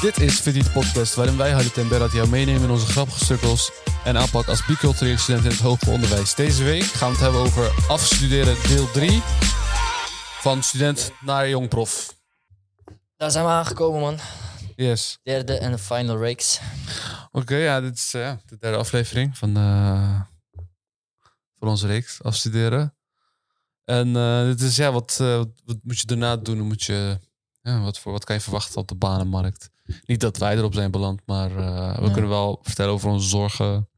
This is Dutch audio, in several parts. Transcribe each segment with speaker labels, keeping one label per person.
Speaker 1: Dit is Verdie de Podcast, waarin wij Halit en Berat jou meenemen in onze grappige sukkels en aanpak als bicultureel student in het hoger onderwijs. Deze week gaan we het hebben over afstuderen deel 3 van student naar jong prof.
Speaker 2: Daar zijn we aangekomen, man.
Speaker 1: Yes.
Speaker 2: Derde en de final reeks.
Speaker 1: Oké, ja, dit is eh, de derde aflevering van, eh, van onze reeks afstuderen. En eh, dit is, ja, wat, eh, wat, wat moet je daarna doen? Hoe Moet je, ja, wat, voor, wat kan je verwachten op de banenmarkt? Niet dat wij erop zijn beland, maar eh, we
Speaker 2: Ja.
Speaker 1: kunnen wel vertellen over onze zorgen.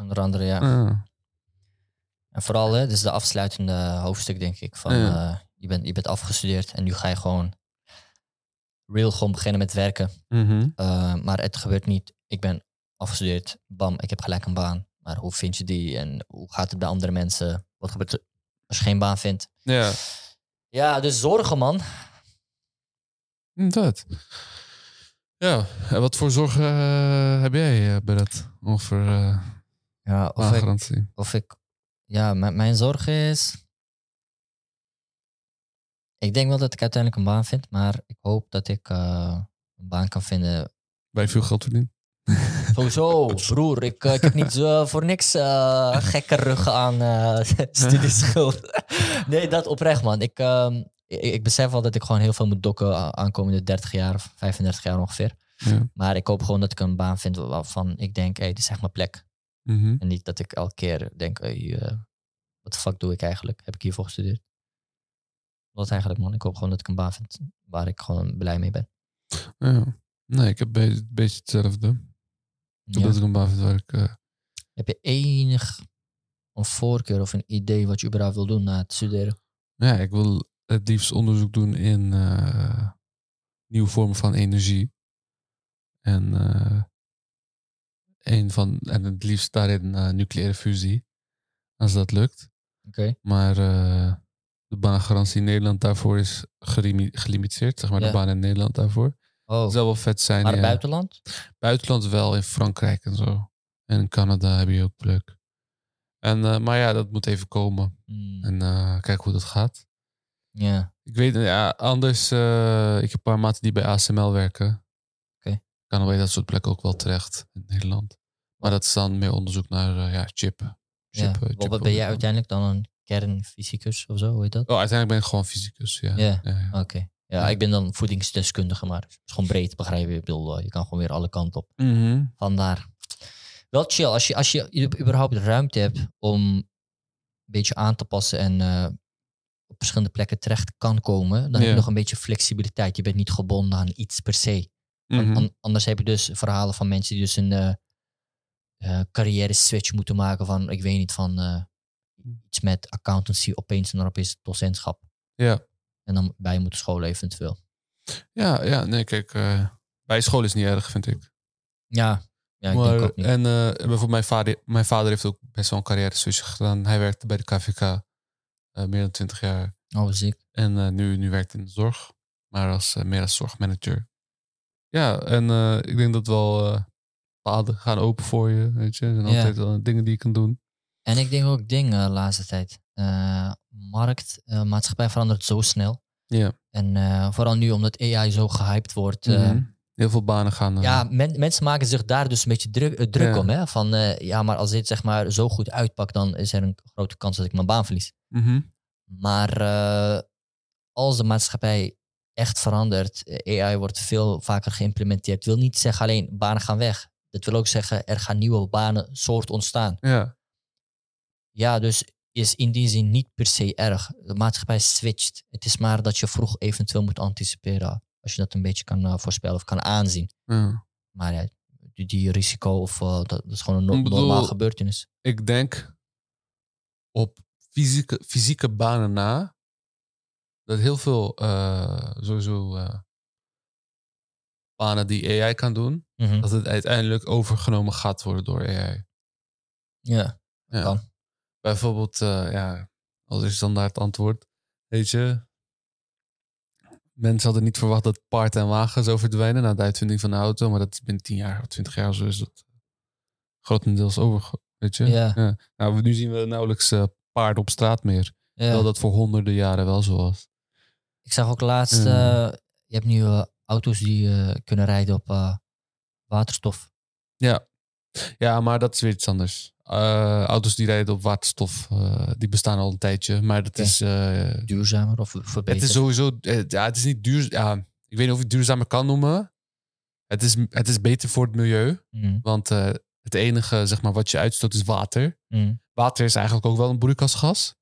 Speaker 2: Onder andere, ja.
Speaker 1: Ja.
Speaker 2: En vooral, hè, dit is de afsluitende hoofdstuk, denk ik. Van,
Speaker 1: Ja.
Speaker 2: eh, je, bent, je bent afgestudeerd en nu ga je gewoon real gewoon beginnen met werken.
Speaker 1: Mhm.
Speaker 2: Eh, maar het gebeurt niet. Ik ben afgestudeerd, bam, ik heb gelijk een baan. Maar hoe vind je die en hoe gaat het bij andere mensen? Wat gebeurt er als je geen baan vindt?
Speaker 1: ja,
Speaker 2: Ja, dus zorgen, man.
Speaker 1: inderdaad. Ja, en wat voor zorgen eh, heb jij, eh Berat, over eh
Speaker 2: Ja, of
Speaker 1: Ah.
Speaker 2: ik,
Speaker 1: baangarantie?
Speaker 2: of ik... Ja, mijn, mijn zorg is... Ik denk wel dat ik uiteindelijk een baan vind, maar ik hoop dat ik eh, een baan kan vinden.
Speaker 1: Bij veel geld verdienen?
Speaker 2: Sowieso, broer, ik, eh, ik heb niet eh, voor niks eh, gekke ruggen aan eh studieschuld. nee, dat oprecht, man. Ik, ehm, ik, ik besef wel dat ik gewoon heel veel moet dokken a- aankomende 30 jaar, of 35 jaar ongeveer.
Speaker 1: Ja.
Speaker 2: Maar ik hoop gewoon dat ik een baan vind waarvan ik denk, hé, dit is echt mijn plek.
Speaker 1: Mhm.
Speaker 2: En niet dat ik elke keer denk, hey, eh wat de fuck doe ik eigenlijk? Heb ik hiervoor gestudeerd? Wat eigenlijk, man. Ik hoop gewoon dat ik een baan vind waar ik gewoon blij mee ben.
Speaker 1: Ja. Nee, ik heb be- een beetje hetzelfde.
Speaker 2: Ja.
Speaker 1: Dat ik een baan vind waar ik... eh,
Speaker 2: Heb je enig een voorkeur of een idee wat je überhaupt wil doen na het studeren?
Speaker 1: ja, ik wil het liefst onderzoek doen in eh, nieuwe vormen van energie. En, eh, een van, en het liefst daarin eh, nucleaire fusie. Als dat lukt.
Speaker 2: Oké.
Speaker 1: Maar eh, de baangarantie in Nederland daarvoor is gerimi- gelimiteerd. Zeg maar
Speaker 2: Ja.
Speaker 1: de baan in Nederland daarvoor.
Speaker 2: Oh,
Speaker 1: Het zou wel vet zijn.
Speaker 2: maar
Speaker 1: ja.
Speaker 2: buitenland?
Speaker 1: Buitenland wel, in Frankrijk en zo. En in Canada heb je ook pluk. En, eh, maar ja, dat moet even komen.
Speaker 2: Hmm,
Speaker 1: En eh kijk hoe dat gaat.
Speaker 2: Ja.
Speaker 1: Ik weet, ja, anders, eh, ik heb een paar maten die bij ASML werken.
Speaker 2: Oké.
Speaker 1: Kan al bij dat soort plekken ook wel terecht in Nederland. Maar dat is dan meer onderzoek naar eh, ja, chippen.
Speaker 2: ja.
Speaker 1: Chippen,
Speaker 2: Wat- Wat
Speaker 1: chippen.
Speaker 2: ben jij uiteindelijk dan een kernfysicus of zo? Hoe heet dat?
Speaker 1: Oh, uiteindelijk ben ik gewoon fysicus, ja.
Speaker 2: Ja.
Speaker 1: ja, ja.
Speaker 2: Oké. Ja,
Speaker 1: Ja.
Speaker 2: ik ben dan voedingsdeskundige, maar het is gewoon breed, begrijp je? Ik bedoel, eh, je kan gewoon weer alle kanten op.
Speaker 1: Mhm.
Speaker 2: Vandaar. Wel chill, als je, als je u- überhaupt ruimte hebt om een beetje aan te passen en eh, op verschillende plekken terecht kan komen, dan heb
Speaker 1: Ja.
Speaker 2: je nog een beetje flexibiliteit. Je bent niet gebonden aan iets per se. An-
Speaker 1: Mhm.
Speaker 2: an- anders heb je dus verhalen van mensen die dus een eh, eh, carrière switch moeten maken van, ik weet niet, van eh, iets met accountancy opeens en dan opeens docentschap.
Speaker 1: Ja.
Speaker 2: En dan bij moeten scholen eventueel.
Speaker 1: ja, ja, nee, kijk, eh, bij school is niet erg, vind ik.
Speaker 2: Ja, ja ik
Speaker 1: maar,
Speaker 2: denk ook niet.
Speaker 1: En eh, bijvoorbeeld mijn vader, mijn vader heeft ook best wel een carrière switch gedaan. Hij werkte bij de KVK eh, meer dan 20 jaar.
Speaker 2: Oh, ziek.
Speaker 1: En eh, nu, nu werkt hij in de zorg, maar als, eh, meer als zorgmanager. Ja, en eh, ik denk dat wel eh, paden gaan open voor je, weet je. Er zijn
Speaker 2: Ja.
Speaker 1: altijd wel dingen die je kan doen.
Speaker 2: En ik denk ook dingen de laatste tijd. Eh, markt, eh, maatschappij verandert zo snel.
Speaker 1: Ja.
Speaker 2: En eh, vooral nu omdat AI zo gehyped wordt. eh,
Speaker 1: Mhm. Heel veel banen gaan... eh,
Speaker 2: Ja, men- mensen maken zich daar dus een beetje druk, eh, druk
Speaker 1: Ja.
Speaker 2: om. Hè? Van eh, ja, maar als dit zeg maar zo goed uitpakt, dan is er een grote kans dat ik mijn baan verlies.
Speaker 1: mhm.
Speaker 2: Maar eh, als de maatschappij echt verandert, eh, AI wordt veel vaker geïmplementeerd, wil niet zeggen alleen banen gaan weg. Dat wil ook zeggen, er gaan nieuwe banen soort ontstaan.
Speaker 1: Ja,
Speaker 2: Ja, dus is in die zin niet per se erg. De maatschappij switcht. Het is maar dat je vroeg eventueel moet anticiperen. Als je dat een beetje kan eh, voorspellen of kan aanzien.
Speaker 1: ja.
Speaker 2: Maar ja, die, die risico of eh, dat, dat is gewoon een no-
Speaker 1: Ik bedoel-
Speaker 2: normaal gebeurtenis.
Speaker 1: Ik denk op fysieke, fysieke banen na... dat heel veel eh, sowieso eh, banen die AI kan doen,
Speaker 2: Mhm.
Speaker 1: dat het uiteindelijk overgenomen gaat worden door AI.
Speaker 2: Ja,
Speaker 1: Ja.
Speaker 2: kan.
Speaker 1: Bijvoorbeeld, eh, ja, als is dan daar het antwoord, weet je, mensen hadden niet verwacht dat paard en wagen zou verdwijnen na de uitvinding van de auto, maar dat is binnen 10 jaar of 20 jaar of zo is dat grotendeels over, weet je.
Speaker 2: Ja.
Speaker 1: Nou, we- nu zien we nauwelijks eh paard op straat meer,
Speaker 2: Ja.
Speaker 1: terwijl dat voor honderden jaren wel zo was.
Speaker 2: Ik zag ook laatst,
Speaker 1: Ja.
Speaker 2: eh, je hebt nu eh, auto's die eh, kunnen rijden op eh, waterstof.
Speaker 1: Ja, maar dat is weer iets anders. Eh, auto's die rijden op waterstof, eh, die bestaan al een tijdje. Maar dat
Speaker 2: Oké.
Speaker 1: is, eh,
Speaker 2: Duurzamer of verbeterd.
Speaker 1: het is sowieso... eh, ja, het is niet duur... Ja, ik weet niet of je het duurzamer kan noemen. Het is, het is beter voor het milieu.
Speaker 2: Mm,
Speaker 1: Want eh, het enige zeg maar, wat je uitstoot is water.
Speaker 2: mm.
Speaker 1: Water is eigenlijk ook wel een broeikasgas.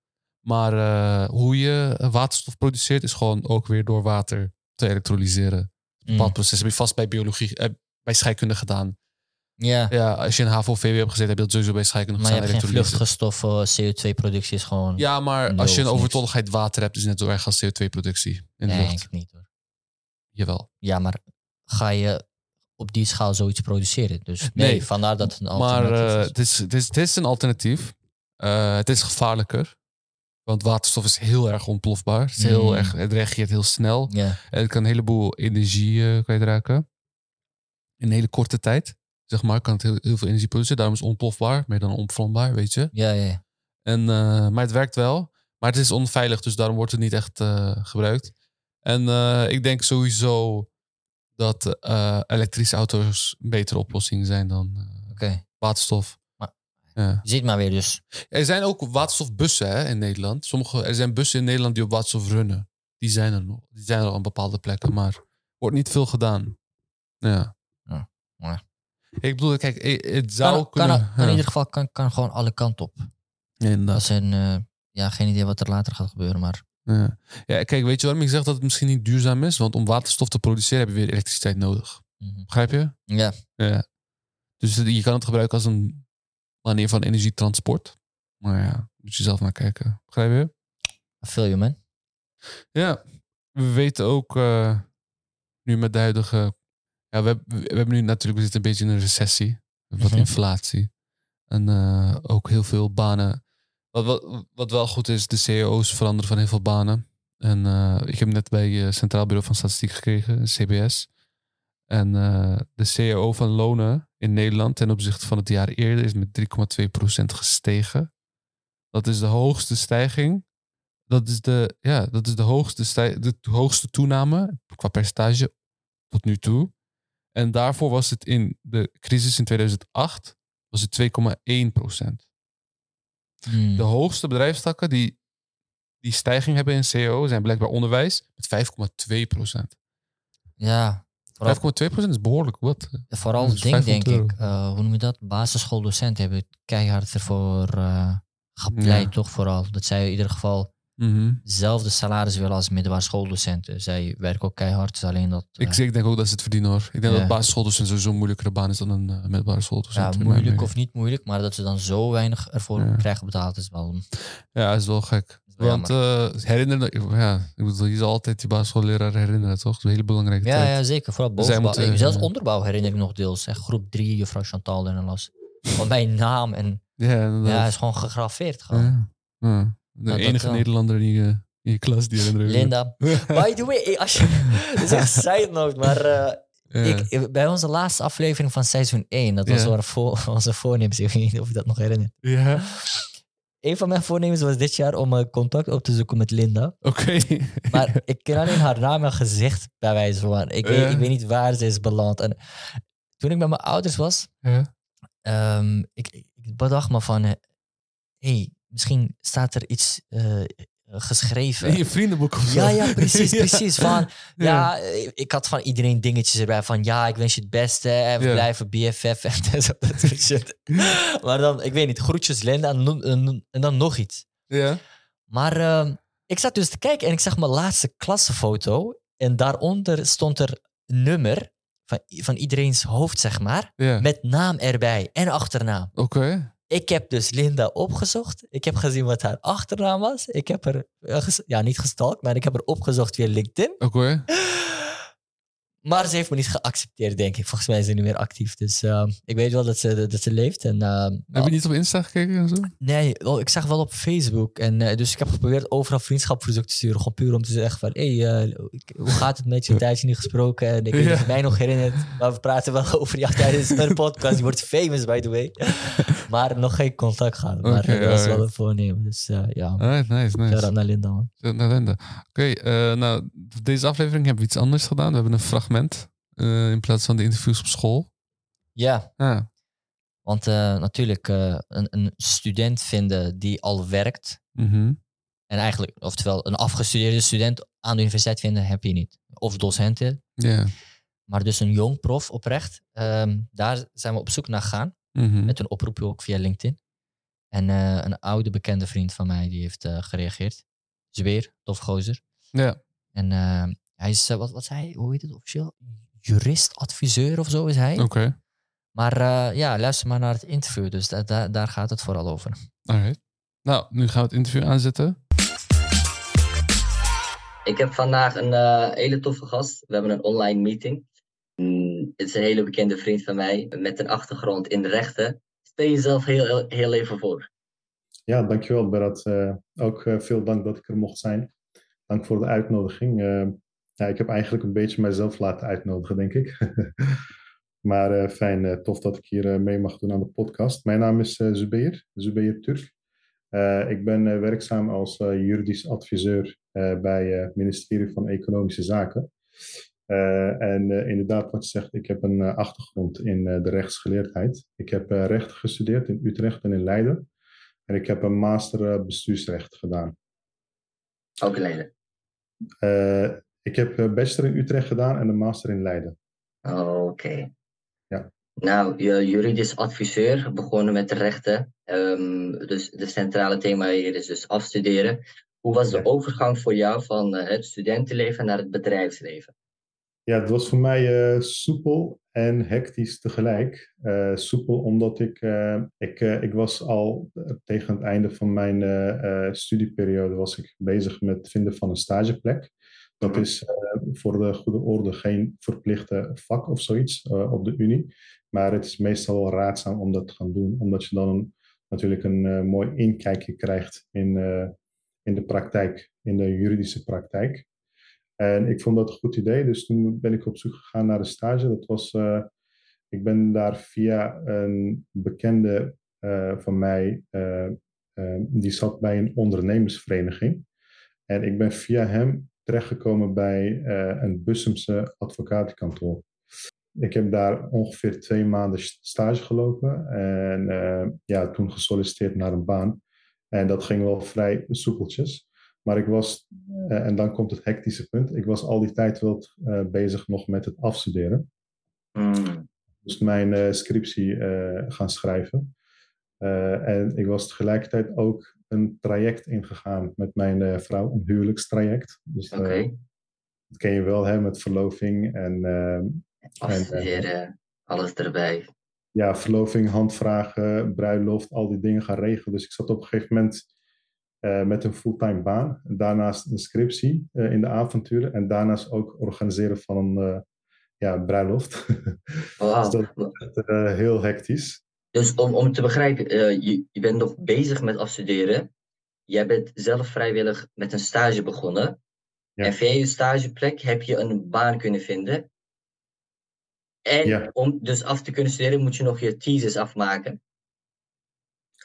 Speaker 1: Maar eh, hoe je waterstof produceert is gewoon ook weer door water te elektrolyseren.
Speaker 2: Mm.
Speaker 1: Een bepaald proces heb je vast bij biologie, eh, bij scheikunde gedaan.
Speaker 2: Ja,
Speaker 1: Ja, als je een HAVO of VW hebt gezeten, heb je dat sowieso bij scheikunde
Speaker 2: maar je
Speaker 1: gedaan.
Speaker 2: hebt geen eh,
Speaker 1: elektrolyse.
Speaker 2: vluchtgestoffen, CO2-productie is gewoon...
Speaker 1: Ja, maar
Speaker 2: Nul
Speaker 1: als je een
Speaker 2: of niks.
Speaker 1: overtolligheid water hebt, is het net zo erg als CO2-productie in de
Speaker 2: nee,
Speaker 1: lucht.
Speaker 2: ik niet hoor.
Speaker 1: Jawel.
Speaker 2: Ja, maar ga je op die schaal zoiets produceren? Dus nee,
Speaker 1: Eh, Nee,
Speaker 2: vandaar dat het een
Speaker 1: Maar
Speaker 2: alternatief
Speaker 1: eh,
Speaker 2: is.
Speaker 1: het, is, het, is, het is een alternatief. Eh, het is gevaarlijker. Want waterstof is heel erg ontplofbaar. Het, is heel
Speaker 2: Mm.
Speaker 1: erg, het reageert heel snel.
Speaker 2: Ja,
Speaker 1: En het kan een heleboel energie eh, kwijtraken. In een hele korte tijd. Zeg maar, kan het heel, heel veel energie produceren. Daarom is het ontplofbaar. Meer dan onvlambaar, weet je.
Speaker 2: ja, ja. ja.
Speaker 1: En, eh, maar het werkt wel. Maar het is onveilig, dus daarom wordt het niet echt eh, gebruikt. En eh, ik denk sowieso dat eh, elektrische auto's een betere oplossing zijn dan eh,
Speaker 2: Oké.
Speaker 1: waterstof.
Speaker 2: Maar-
Speaker 1: Ja.
Speaker 2: Je ziet maar weer dus.
Speaker 1: Er zijn ook waterstofbussen hè, in Nederland. Sommige, er zijn bussen in Nederland die op waterstof runnen. Die zijn er nog. Die zijn er al aan bepaalde plekken, maar wordt niet veel gedaan. Ja.
Speaker 2: Ja, maar-
Speaker 1: Ik bedoel, kijk, eh, het zou
Speaker 2: Kan, kan,
Speaker 1: kunnen...
Speaker 2: in
Speaker 1: ja.
Speaker 2: ieder geval kan, kan gewoon alle kanten op.
Speaker 1: Ja, inderdaad.
Speaker 2: Dat is een... eh, ja, geen idee wat er later gaat gebeuren, maar...
Speaker 1: Ja. ja, kijk, weet je waarom ik zeg dat het misschien niet duurzaam is? Want om waterstof te produceren heb je weer elektriciteit nodig.
Speaker 2: Mhm.
Speaker 1: Begrijp je?
Speaker 2: Ja,
Speaker 1: Ja. Dus het- je kan het gebruiken als een manier van energietransport. Maar ja, moet je zelf maar kijken. Begrijp je?
Speaker 2: I feel you, man.
Speaker 1: Ja, we weten ook eh, nu met de huidige... Ja, we, hebben- we hebben nu natuurlijk, we zitten een beetje in een recessie. We hebben
Speaker 2: Mhm.
Speaker 1: Wat inflatie. En eh, ook heel veel banen. Wat, wat, wat wel goed is, de CEO's veranderen van heel veel banen. En eh, ik heb net bij eh, Centraal Bureau van Statistiek gekregen, CBS. En eh, de CEO van lonen in Nederland ten opzichte van het jaar eerder is met 3,2% gestegen. Dat is de hoogste stijging. Dat is de, ja, dat is de, hoogste, stij- de hoogste toename qua percentage tot nu toe. En daarvoor was het in de crisis in 2008 was het 2,1
Speaker 2: Mm.
Speaker 1: De hoogste bedrijfstakken die die stijging hebben in CO zijn blijkbaar onderwijs met 5,2
Speaker 2: Ja,
Speaker 1: 5,2 is behoorlijk wat.
Speaker 2: vooral
Speaker 1: Dat
Speaker 2: het
Speaker 1: is
Speaker 2: ding, denk
Speaker 1: 500
Speaker 2: ik. eh, hoe noem je dat? Basisschooldocenten hebben het keihard ervoor eh, gepleit,
Speaker 1: Ja.
Speaker 2: toch vooral. Dat zij in ieder geval hetzelfde salaris willen als middelbare schooldocenten. Zij werken ook keihard, het is alleen dat... eh,
Speaker 1: Ik, ik denk ook dat ze het verdienen hoor. Ik denk
Speaker 2: Ja.
Speaker 1: dat basisschooldocent sowieso een moeilijkere baan is dan een eh, middelbare
Speaker 2: ja,
Speaker 1: schooldocent. in mijn
Speaker 2: moeilijk
Speaker 1: mening.
Speaker 2: of niet moeilijk, maar dat ze dan zo weinig ervoor
Speaker 1: Ja.
Speaker 2: krijgen betaald is wel...
Speaker 1: Ja, dat is wel gek.
Speaker 2: is wel
Speaker 1: Want eh herinneren, ja, ik bedoel, je zal altijd die basisschoolleraar herinneren, toch? Dat is een hele belangrijke
Speaker 2: Ja,
Speaker 1: tijd.
Speaker 2: ja, zeker. Vooral
Speaker 1: Zij
Speaker 2: bovenbouw.
Speaker 1: moeten-
Speaker 2: Eh, Zelfs onderbouw herinner ik nog deels. Echt groep 3, juffrouw Chantal en alles. Van mijn naam en
Speaker 1: Ja, inderdaad.
Speaker 2: ja, is gewoon gegraveerd. Gewoon.
Speaker 1: Ja. Ja. De
Speaker 2: dat
Speaker 1: enige
Speaker 2: wel.
Speaker 1: Nederlander in je, in je klas die herinneren.
Speaker 2: Linda. By the way, eh, als je, dit is echt side note, maar eh,
Speaker 1: Ja.
Speaker 2: ik, eh, bij onze laatste aflevering van seizoen 1, dat was
Speaker 1: Ja.
Speaker 2: waar voor, onze voornemens, ik weet niet of je dat nog herinnert.
Speaker 1: Ja.
Speaker 2: Een van mijn voornemens was dit jaar om eh, contact op te zoeken met Linda.
Speaker 1: Oké.
Speaker 2: Maar ik ken alleen haar naam en gezicht bij wijze van. Ik, weet-
Speaker 1: Ja.
Speaker 2: ik weet niet waar ze is beland. En toen ik met mijn ouders was,
Speaker 1: Ja.
Speaker 2: Ehm, ik, ik bedacht me van, hé, hey, misschien staat er iets eh,
Speaker 1: In
Speaker 2: geschreven.
Speaker 1: je vriendenboek of zo.
Speaker 2: Ja, ja, precies,
Speaker 1: Ja.
Speaker 2: precies. Van,
Speaker 1: Ja.
Speaker 2: ja, eh, ik had van iedereen dingetjes erbij van, ja, ik wens je het beste en we
Speaker 1: Ja.
Speaker 2: blijven BFF en zo, dat soort shit. Maar dan, ik weet niet, groetjes Linda en, no- en- en dan nog iets.
Speaker 1: Ja.
Speaker 2: Maar ehm, ik zat dus te kijken en ik zag mijn laatste klassenfoto en daaronder stond er een nummer van, van iedereen's hoofd, zeg maar,
Speaker 1: Ja.
Speaker 2: met naam erbij en achternaam.
Speaker 1: Oké.
Speaker 2: Ik heb dus Linda opgezocht. Ik heb gezien wat haar achternaam was. Ik heb er, eh, ges- ja, niet gestalkt, maar ik heb er opgezocht via LinkedIn.
Speaker 1: Oké.
Speaker 2: Maar ze heeft me niet geaccepteerd, denk ik. Volgens mij is ze niet meer actief. Dus ehm, ik weet wel dat ze, dat ze leeft. En, ehm,
Speaker 1: Heb je niet op Insta gekeken en zo?
Speaker 2: Nee, wel, ik zag wel op Facebook. En, eh, dus ik heb geprobeerd overal vriendschapverzoek te sturen. Gewoon puur om te zeggen van... Hé, hey, eh, ik- hoe gaat het met je? Een tijdje niet gesproken. En ik weet niet of je mij nog herinnert. Maar we praten wel over jou tijdens een podcast. Je wordt famous, by the way. Maar nog geen contact gehad. Maar
Speaker 1: Oké,
Speaker 2: dat is
Speaker 1: alright.
Speaker 2: wel een voornemen. Dus eh, ja,
Speaker 1: Alright, nice, nice.
Speaker 2: shout-out naar Linda, man.
Speaker 1: Shout-out naar Linda. Oké, eh, nou, deze aflevering hebben we iets anders gedaan. We hebben een fragment eh, in plaats van de interviews op school. Ah,
Speaker 2: Ja,
Speaker 1: Ja,
Speaker 2: want eh, natuurlijk eh, een, een student vinden die al werkt.
Speaker 1: mhm.
Speaker 2: En eigenlijk, oftewel een afgestudeerde student aan de universiteit vinden, heb je niet. Of docenten.
Speaker 1: Ja.
Speaker 2: Maar dus een jong prof oprecht. ehm, daar zijn we op zoek naar gegaan.
Speaker 1: Mhm.
Speaker 2: Met een oproepje ook via LinkedIn. En eh, een oude bekende vriend van mij die heeft eh, gereageerd. Zweer, tof gozer.
Speaker 1: Ja.
Speaker 2: En eh, hij is, eh, wat, wat zei hij? Hoe heet het officieel? Jurist, adviseur of zo is hij.
Speaker 1: Oké,
Speaker 2: Maar eh, ja, luister maar naar het interview. Dus da- da- daar gaat het vooral over.
Speaker 1: alright. Nou, nu gaan we het interview aanzetten.
Speaker 3: Ik heb vandaag een eh, hele toffe gast. We hebben een online meeting. Mm, het is een hele bekende vriend van mij met een achtergrond in de rechten. Stel jezelf heel, heel, heel even voor.
Speaker 4: Ja, dankjewel Berat. Eh, ook eh, veel dank dat ik er mocht zijn. Dank voor de uitnodiging. Eh, ja, ik heb eigenlijk een beetje mijzelf laten uitnodigen, denk ik. maar eh, fijn, eh, tof dat ik hier eh, mee mag doen aan de podcast. Mijn naam is eh Zubeer, Zubeer Turk. Eh, ik ben eh, werkzaam als eh, juridisch adviseur eh, bij eh, het ministerie van Economische Zaken. Eh, en eh, inderdaad, wat je zegt, ik heb een eh, achtergrond in eh, de rechtsgeleerdheid. Ik heb eh, recht gestudeerd in Utrecht en in Leiden. En ik heb een master eh, bestuursrecht gedaan.
Speaker 3: Ook Leiden.
Speaker 4: Eh, ik heb een bachelor in Utrecht gedaan en een master in Leiden.
Speaker 3: Oké.
Speaker 4: Ja.
Speaker 3: Nou, je juridisch adviseur, begonnen met de rechten. Ehm, dus het centrale thema hier is dus afstuderen. Hoe was de
Speaker 4: Ja.
Speaker 3: overgang voor jou van eh, het studentenleven naar het bedrijfsleven?
Speaker 4: Ja, het was voor mij eh, soepel en hectisch tegelijk. Eh, soepel omdat ik, eh, ik, eh, ik was al eh, tegen het einde van mijn eh, eh, studieperiode was ik bezig met het vinden van een stageplek. Dat is eh, voor de goede orde geen verplichte vak of zoiets eh, op de Unie. Maar het is meestal wel raadzaam om dat te gaan doen, omdat je dan een- natuurlijk een eh, mooi inkijkje krijgt in, eh, in de praktijk, in de juridische praktijk. En ik vond dat een goed idee, dus toen ben ik op zoek gegaan naar een stage. Dat was, eh, ik ben daar via een bekende eh, van mij, eh, eh, die zat bij een ondernemersvereniging. En ik ben via hem terechtgekomen bij eh, een Bussumse advocatenkantoor. Ik heb daar ongeveer twee maanden st- stage gelopen en eh, ja, toen gesolliciteerd naar een baan. En dat ging wel vrij soepeltjes. Maar ik was eh, en dan komt het hectische punt. Ik was al die tijd wel eh, bezig nog met het afstuderen.
Speaker 3: Hmm,
Speaker 4: Ik moest mijn eh, scriptie eh, gaan schrijven. Eh, en ik was tegelijkertijd ook een traject ingegaan met mijn eh, vrouw, een huwelijkstraject. Dus eh,
Speaker 3: Oké.
Speaker 4: dat ken je wel, hè, met verloving en eh,
Speaker 3: Afstuderen, alles erbij.
Speaker 4: ja, verloving, handvragen, bruiloft, al die dingen gaan regelen. Dus ik zat op een gegeven moment eh, met een fulltime baan. En Daarnaast een scriptie eh, in de avonturen. En daarnaast ook organiseren van een eh, ja, bruiloft.
Speaker 3: Wauw.
Speaker 4: Dus dat- Eh, heel hectisch.
Speaker 3: Dus om, om te begrijpen, eh, je, je bent nog bezig met afstuderen. Jij bent zelf vrijwillig met een stage begonnen.
Speaker 4: Ja.
Speaker 3: En via je stageplek heb je een baan kunnen vinden. En
Speaker 4: Ja.
Speaker 3: om dus af te kunnen studeren moet je nog je thesis afmaken.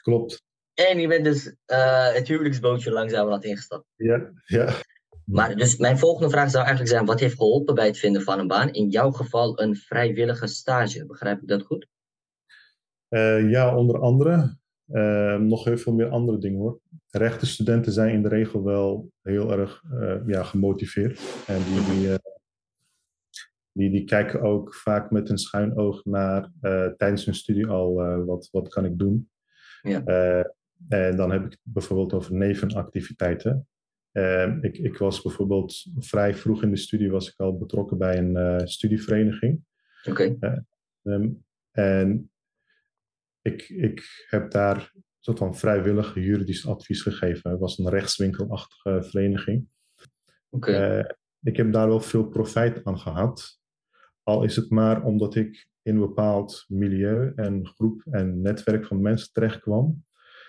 Speaker 4: Klopt.
Speaker 3: En je bent dus eh, het huwelijksbootje langzamerhand ingestapt.
Speaker 4: Ja, ja.
Speaker 3: Maar dus mijn volgende vraag zou eigenlijk zijn, wat heeft geholpen bij het vinden van een baan? In jouw geval een vrijwillige stage, begrijp ik dat goed?
Speaker 4: Eh, ja, onder andere. Eh, nog heel veel meer andere dingen hoor. Rechtenstudenten zijn in de regel wel heel erg eh, ja, gemotiveerd. En die, die, eh, die, die kijken ook vaak met een schuin oog naar eh, tijdens hun studie al eh, wat, wat kan ik doen.
Speaker 3: Ja.
Speaker 4: Eh, en dan heb ik het bijvoorbeeld over nevenactiviteiten. Eh, ik, ik was bijvoorbeeld vrij vroeg in de studie was ik al betrokken bij een eh, studievereniging.
Speaker 3: Oké,
Speaker 4: Ehm, en ik, ik heb daar een soort van vrijwillig juridisch advies gegeven. Het was een rechtswinkelachtige vereniging.
Speaker 3: oké.
Speaker 4: Eh, ik heb daar wel veel profijt aan gehad. Al is het maar omdat ik in een bepaald milieu en groep en netwerk van mensen terecht kwam.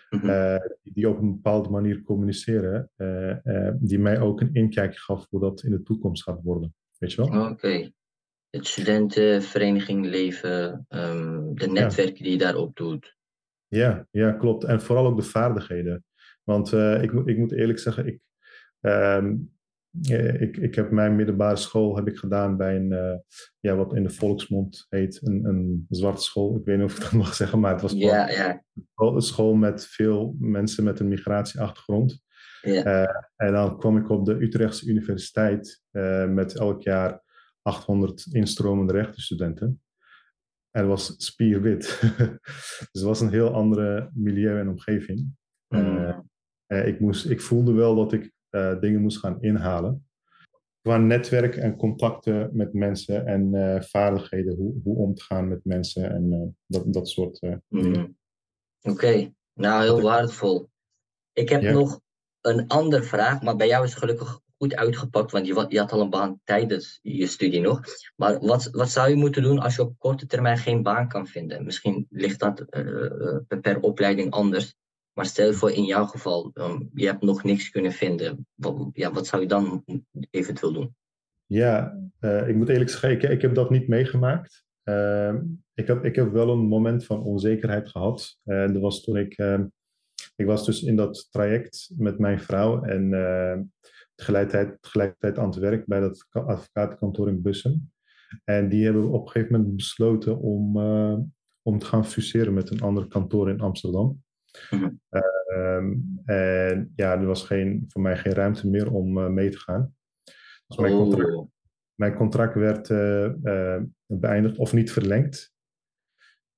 Speaker 3: Mhm.
Speaker 4: eh, die op een bepaalde manier communiceren. eh, eh, die mij ook een inkijkje gaf hoe dat in de toekomst gaat worden. Weet je wel?
Speaker 3: Oké. Het studentenvereniging leven, ehm, de netwerken die je daarop doet.
Speaker 4: Ja, ja, klopt. En vooral ook de vaardigheden. Want eh, ik, moet- ik moet eerlijk zeggen, ik, ehm, eh, ik, ik heb mijn middelbare school heb ik gedaan bij een, eh, ja, wat in de volksmond heet, een, een zwarte school. Ik weet niet of ik dat mag zeggen, maar het was wel
Speaker 3: Ja, ja.
Speaker 4: wel een school met veel mensen met een migratieachtergrond.
Speaker 3: Ja.
Speaker 4: Eh, en dan kwam ik op de Utrechtse Universiteit eh, met elk jaar 800 instromende rechtenstudenten. En het was spierwit. dus het was een heel andere milieu en omgeving. Eh,
Speaker 3: Mm.
Speaker 4: eh, ik, moest, ik voelde wel dat ik eh, dingen moest gaan inhalen. Qua netwerk en contacten met mensen en eh, vaardigheden, hoe, hoe om te gaan met mensen en eh, dat, dat soort eh, dingen.
Speaker 3: Mhm. Oké, nou heel waardevol. Ik heb
Speaker 4: Ja.
Speaker 3: nog een andere vraag, maar bij jou is het gelukkig goed uitgepakt, want je, wa- je had al een baan tijdens je studie nog. Maar wat, wat zou je moeten doen als je op korte termijn geen baan kan vinden? Misschien ligt dat eh, eh, per opleiding anders, maar stel je voor in jouw geval, ehm, je hebt nog niks kunnen vinden. Wat, ja, wat zou je dan eventueel doen?
Speaker 4: Ja, eh, ik moet eerlijk zeggen, ik, ik heb dat niet meegemaakt. Ehm, ik, heb, ik heb wel een moment van onzekerheid gehad. Eh dat was toen ik, ehm, ik was dus in dat traject met mijn vrouw en ehm, tegelijkertijd, tegelijkertijd aan het werk bij dat ka- advocatenkantoor in Bussen. En die hebben op een gegeven moment besloten om, eh, om te gaan fuseren met een ander kantoor in Amsterdam.
Speaker 3: Mhm.
Speaker 4: Ehm, en ja, er was geen, voor mij geen ruimte meer om eh, mee te gaan. Dus mijn contract
Speaker 3: Oh,
Speaker 4: mijn contract werd eh, eh, beëindigd of niet verlengd.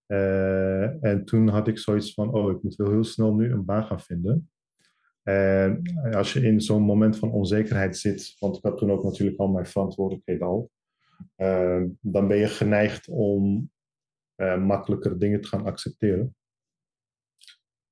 Speaker 4: Eh, en toen had ik zoiets van, oh, ik moet wel heel snel nu een baan gaan vinden. En als je in zo'n moment van onzekerheid zit, want ik had toen ook natuurlijk al mijn verantwoordelijkheden al, eh, dan ben je geneigd om eh, makkelijker dingen te gaan accepteren.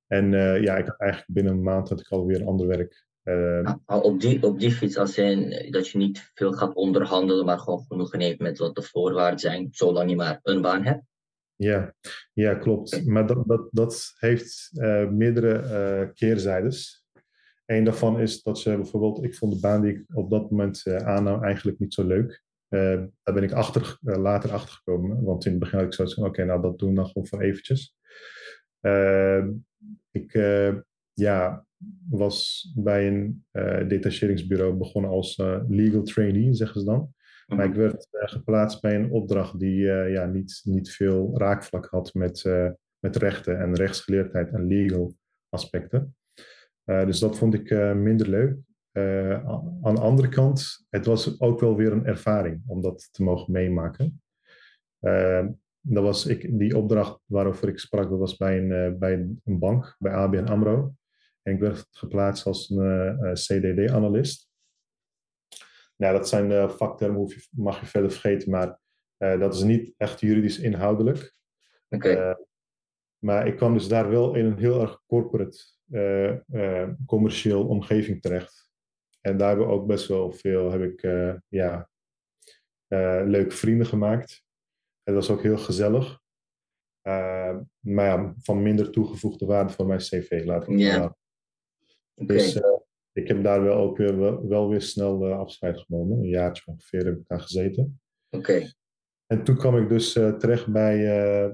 Speaker 4: En eh, ja, ik had eigenlijk binnen een maand had ik alweer ander werk. Eh,
Speaker 3: Maar Nou, op die, op die fiets, als je, dat je niet veel gaat onderhandelen, maar gewoon genoegen neemt met wat de voorwaarden zijn, zolang je maar een baan hebt.
Speaker 4: Ja, ja, klopt. Maar dat, dat, dat heeft eh, meerdere eh, keerzijdes. Eén daarvan is dat ze bijvoorbeeld, ik vond de baan die ik op dat moment eh, aannam eigenlijk niet zo leuk. Eh, daar ben ik achter, eh, later achter gekomen. Want in het begin had ik zoiets van, oké, nou dat doen we dan gewoon voor eventjes. Eh, ik eh, ja, was bij een eh, detacheringsbureau begonnen als eh, legal trainee, zeggen ze dan. Maar ik werd eh, geplaatst bij een opdracht die eh, ja, niet, niet veel raakvlak had met, eh, met rechten en rechtsgeleerdheid en legal aspecten. Eh, dus dat vond ik eh, minder leuk. Eh, a- aan de andere kant, het was ook wel weer een ervaring om dat te mogen meemaken. Eh, dat was ik, die opdracht waarover ik sprak, dat was bij een, eh, bij een bank, bij ABN AMRO. En ik werd geplaatst als een eh, CDD-analyst. Nou, dat zijn eh vaktermen, hoef je- mag je verder vergeten, maar eh, dat is niet echt juridisch inhoudelijk.
Speaker 3: Oké,
Speaker 4: Eh, maar ik kwam dus daar wel in een heel erg corporate, eh, eh, commercieel omgeving terecht. En daar hebben we ook best wel veel, heb ik eh, ja, eh, leuke vrienden gemaakt. Het was ook heel gezellig. Eh, maar ja, van minder toegevoegde waarde voor mijn cv, laat ik het
Speaker 3: Ja,
Speaker 4: maar.
Speaker 3: oké.
Speaker 4: Dus eh, ik heb daar wel ook weer, wel, wel weer snel eh, afscheid genomen. Een jaartje ongeveer heb ik daar gezeten.
Speaker 3: oké.
Speaker 4: En toen kwam ik dus eh, terecht bij, eh,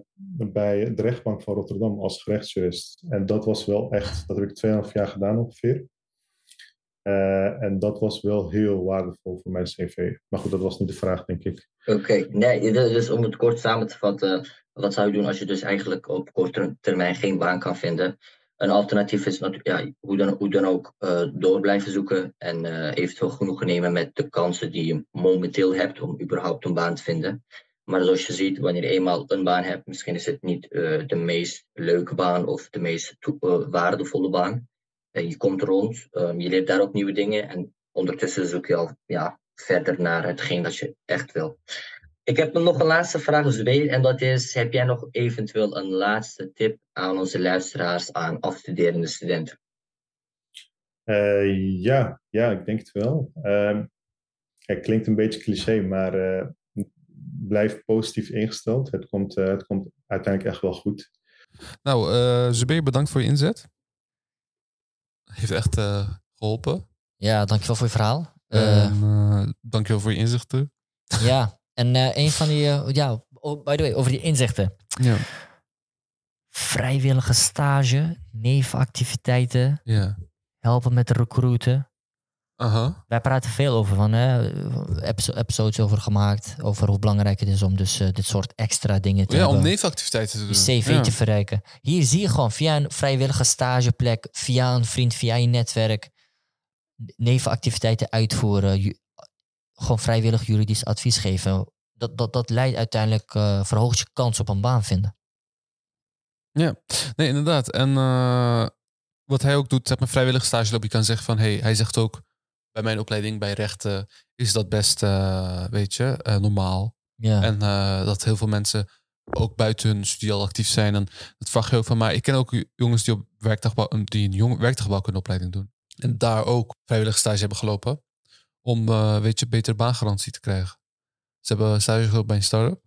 Speaker 4: bij de rechtbank van Rotterdam als gerechtsjurist. En dat was wel echt, dat heb ik 2,5 jaar gedaan ongeveer. Eh, en dat was wel heel waardevol voor mijn cv. Maar goed, dat was niet de vraag, denk ik.
Speaker 3: Oké, nee, d- dus om het kort samen te vatten, wat zou je doen als je dus eigenlijk op korte termijn geen baan kan vinden? Een alternatief is natuurlijk, ja, hoe dan, hoe dan ook, eh, door blijven zoeken en eh, eventueel genoegen nemen met de kansen die je momenteel hebt om überhaupt een baan te vinden. Maar zoals je ziet, wanneer je eenmaal een baan hebt, misschien is het niet eh, de meest leuke baan of de meest toe- eh, waardevolle baan. En je komt rond, ehm, je leert daar ook nieuwe dingen en ondertussen zoek je al ja, verder naar hetgeen dat je echt wil. Ik heb nog een laatste vraag, Zweer, en dat is: heb jij nog eventueel een laatste tip aan onze luisteraars, aan afstuderende studenten?
Speaker 4: Eh, ja, ja, ik denk het wel. Ehm, het klinkt een beetje cliché, maar eh, blijf positief ingesteld. Het komt, eh, het komt uiteindelijk echt wel goed.
Speaker 1: Nou, eh Zubé, bedankt voor je inzet. Heeft echt eh, geholpen.
Speaker 2: Ja, dankjewel voor je verhaal. Eh,
Speaker 1: En, eh, dankjewel voor je inzichten.
Speaker 2: ja, en eh, een van die... eh, ja, oh, by the way, over die inzichten.
Speaker 1: Ja.
Speaker 2: Vrijwillige stage, nevenactiviteiten,
Speaker 1: Ja.
Speaker 2: helpen met recruiten.
Speaker 1: Aha.
Speaker 2: Wij praten veel over van, hè, episo- episodes over gemaakt, over hoe belangrijk het is om dus eh, dit soort extra dingen te
Speaker 1: Ja, om
Speaker 2: hebben.
Speaker 1: nevenactiviteiten te doen.
Speaker 2: je cv
Speaker 1: Ja.
Speaker 2: te verrijken. Hier zie je gewoon via een vrijwillige stageplek, via een vriend, via je netwerk, nevenactiviteiten uitvoeren, ju- gewoon vrijwillig juridisch advies geven. Dat, dat, dat leidt uiteindelijk, eh, verhoogt je kans op een baan vinden.
Speaker 1: Nee, inderdaad. En eh, wat hij ook doet, zeg maar, vrijwillig stage lopen. Je kan zeggen van, hey, hij zegt ook, bij mijn opleiding bij rechten is dat best, eh, weet je, eh, normaal.
Speaker 2: Ja,
Speaker 1: En eh, dat heel veel mensen ook buiten hun studie al actief zijn. En dat vraag je ook van. Maar ik ken ook jongens die op werktuigbouw, die een jong, werktuigbouwkundeopleiding doen. En daar ook vrijwillig stage hebben gelopen. Om, eh, weet je, betere baangarantie te krijgen. Ze hebben stage gelopen bij een start-up.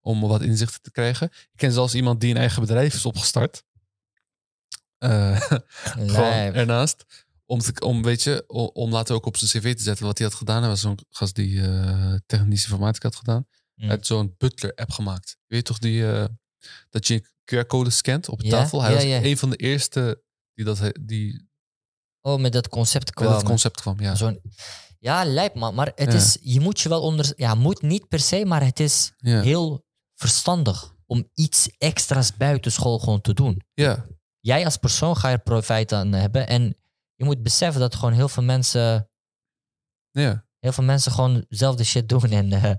Speaker 1: Om wat inzichten te krijgen. Ik ken zelfs iemand die een eigen bedrijf is opgestart. Eh, gewoon
Speaker 2: lijp.
Speaker 1: ernaast. Om, te, om, weet je, o- om, later ook op zijn cv te zetten wat hij had gedaan. Hij was zo'n gast die eh technische informatica had gedaan.
Speaker 2: Mm.
Speaker 1: Hij had zo'n butler-app gemaakt. Weet je toch die, eh, dat je QR-code scant op
Speaker 2: Ja,
Speaker 1: tafel? Hij
Speaker 2: ja,
Speaker 1: was
Speaker 2: ja.
Speaker 1: een van de eerste die dat, he- die met
Speaker 2: Oh, met dat concept kwam.
Speaker 1: dat concept kwam. Ja.
Speaker 2: Zo'n, ja, lijp man. Maar het
Speaker 1: Ja.
Speaker 2: is, je moet je wel onder... Ja, moet niet per se, maar het is
Speaker 1: Ja.
Speaker 2: heel verstandig om iets extra's buiten school gewoon te doen.
Speaker 1: ja,
Speaker 2: jij als persoon ga je er profijt aan hebben. En je moet beseffen dat gewoon heel veel mensen,
Speaker 1: ja.
Speaker 2: heel veel mensen gewoon zelf de shit doen. En eh,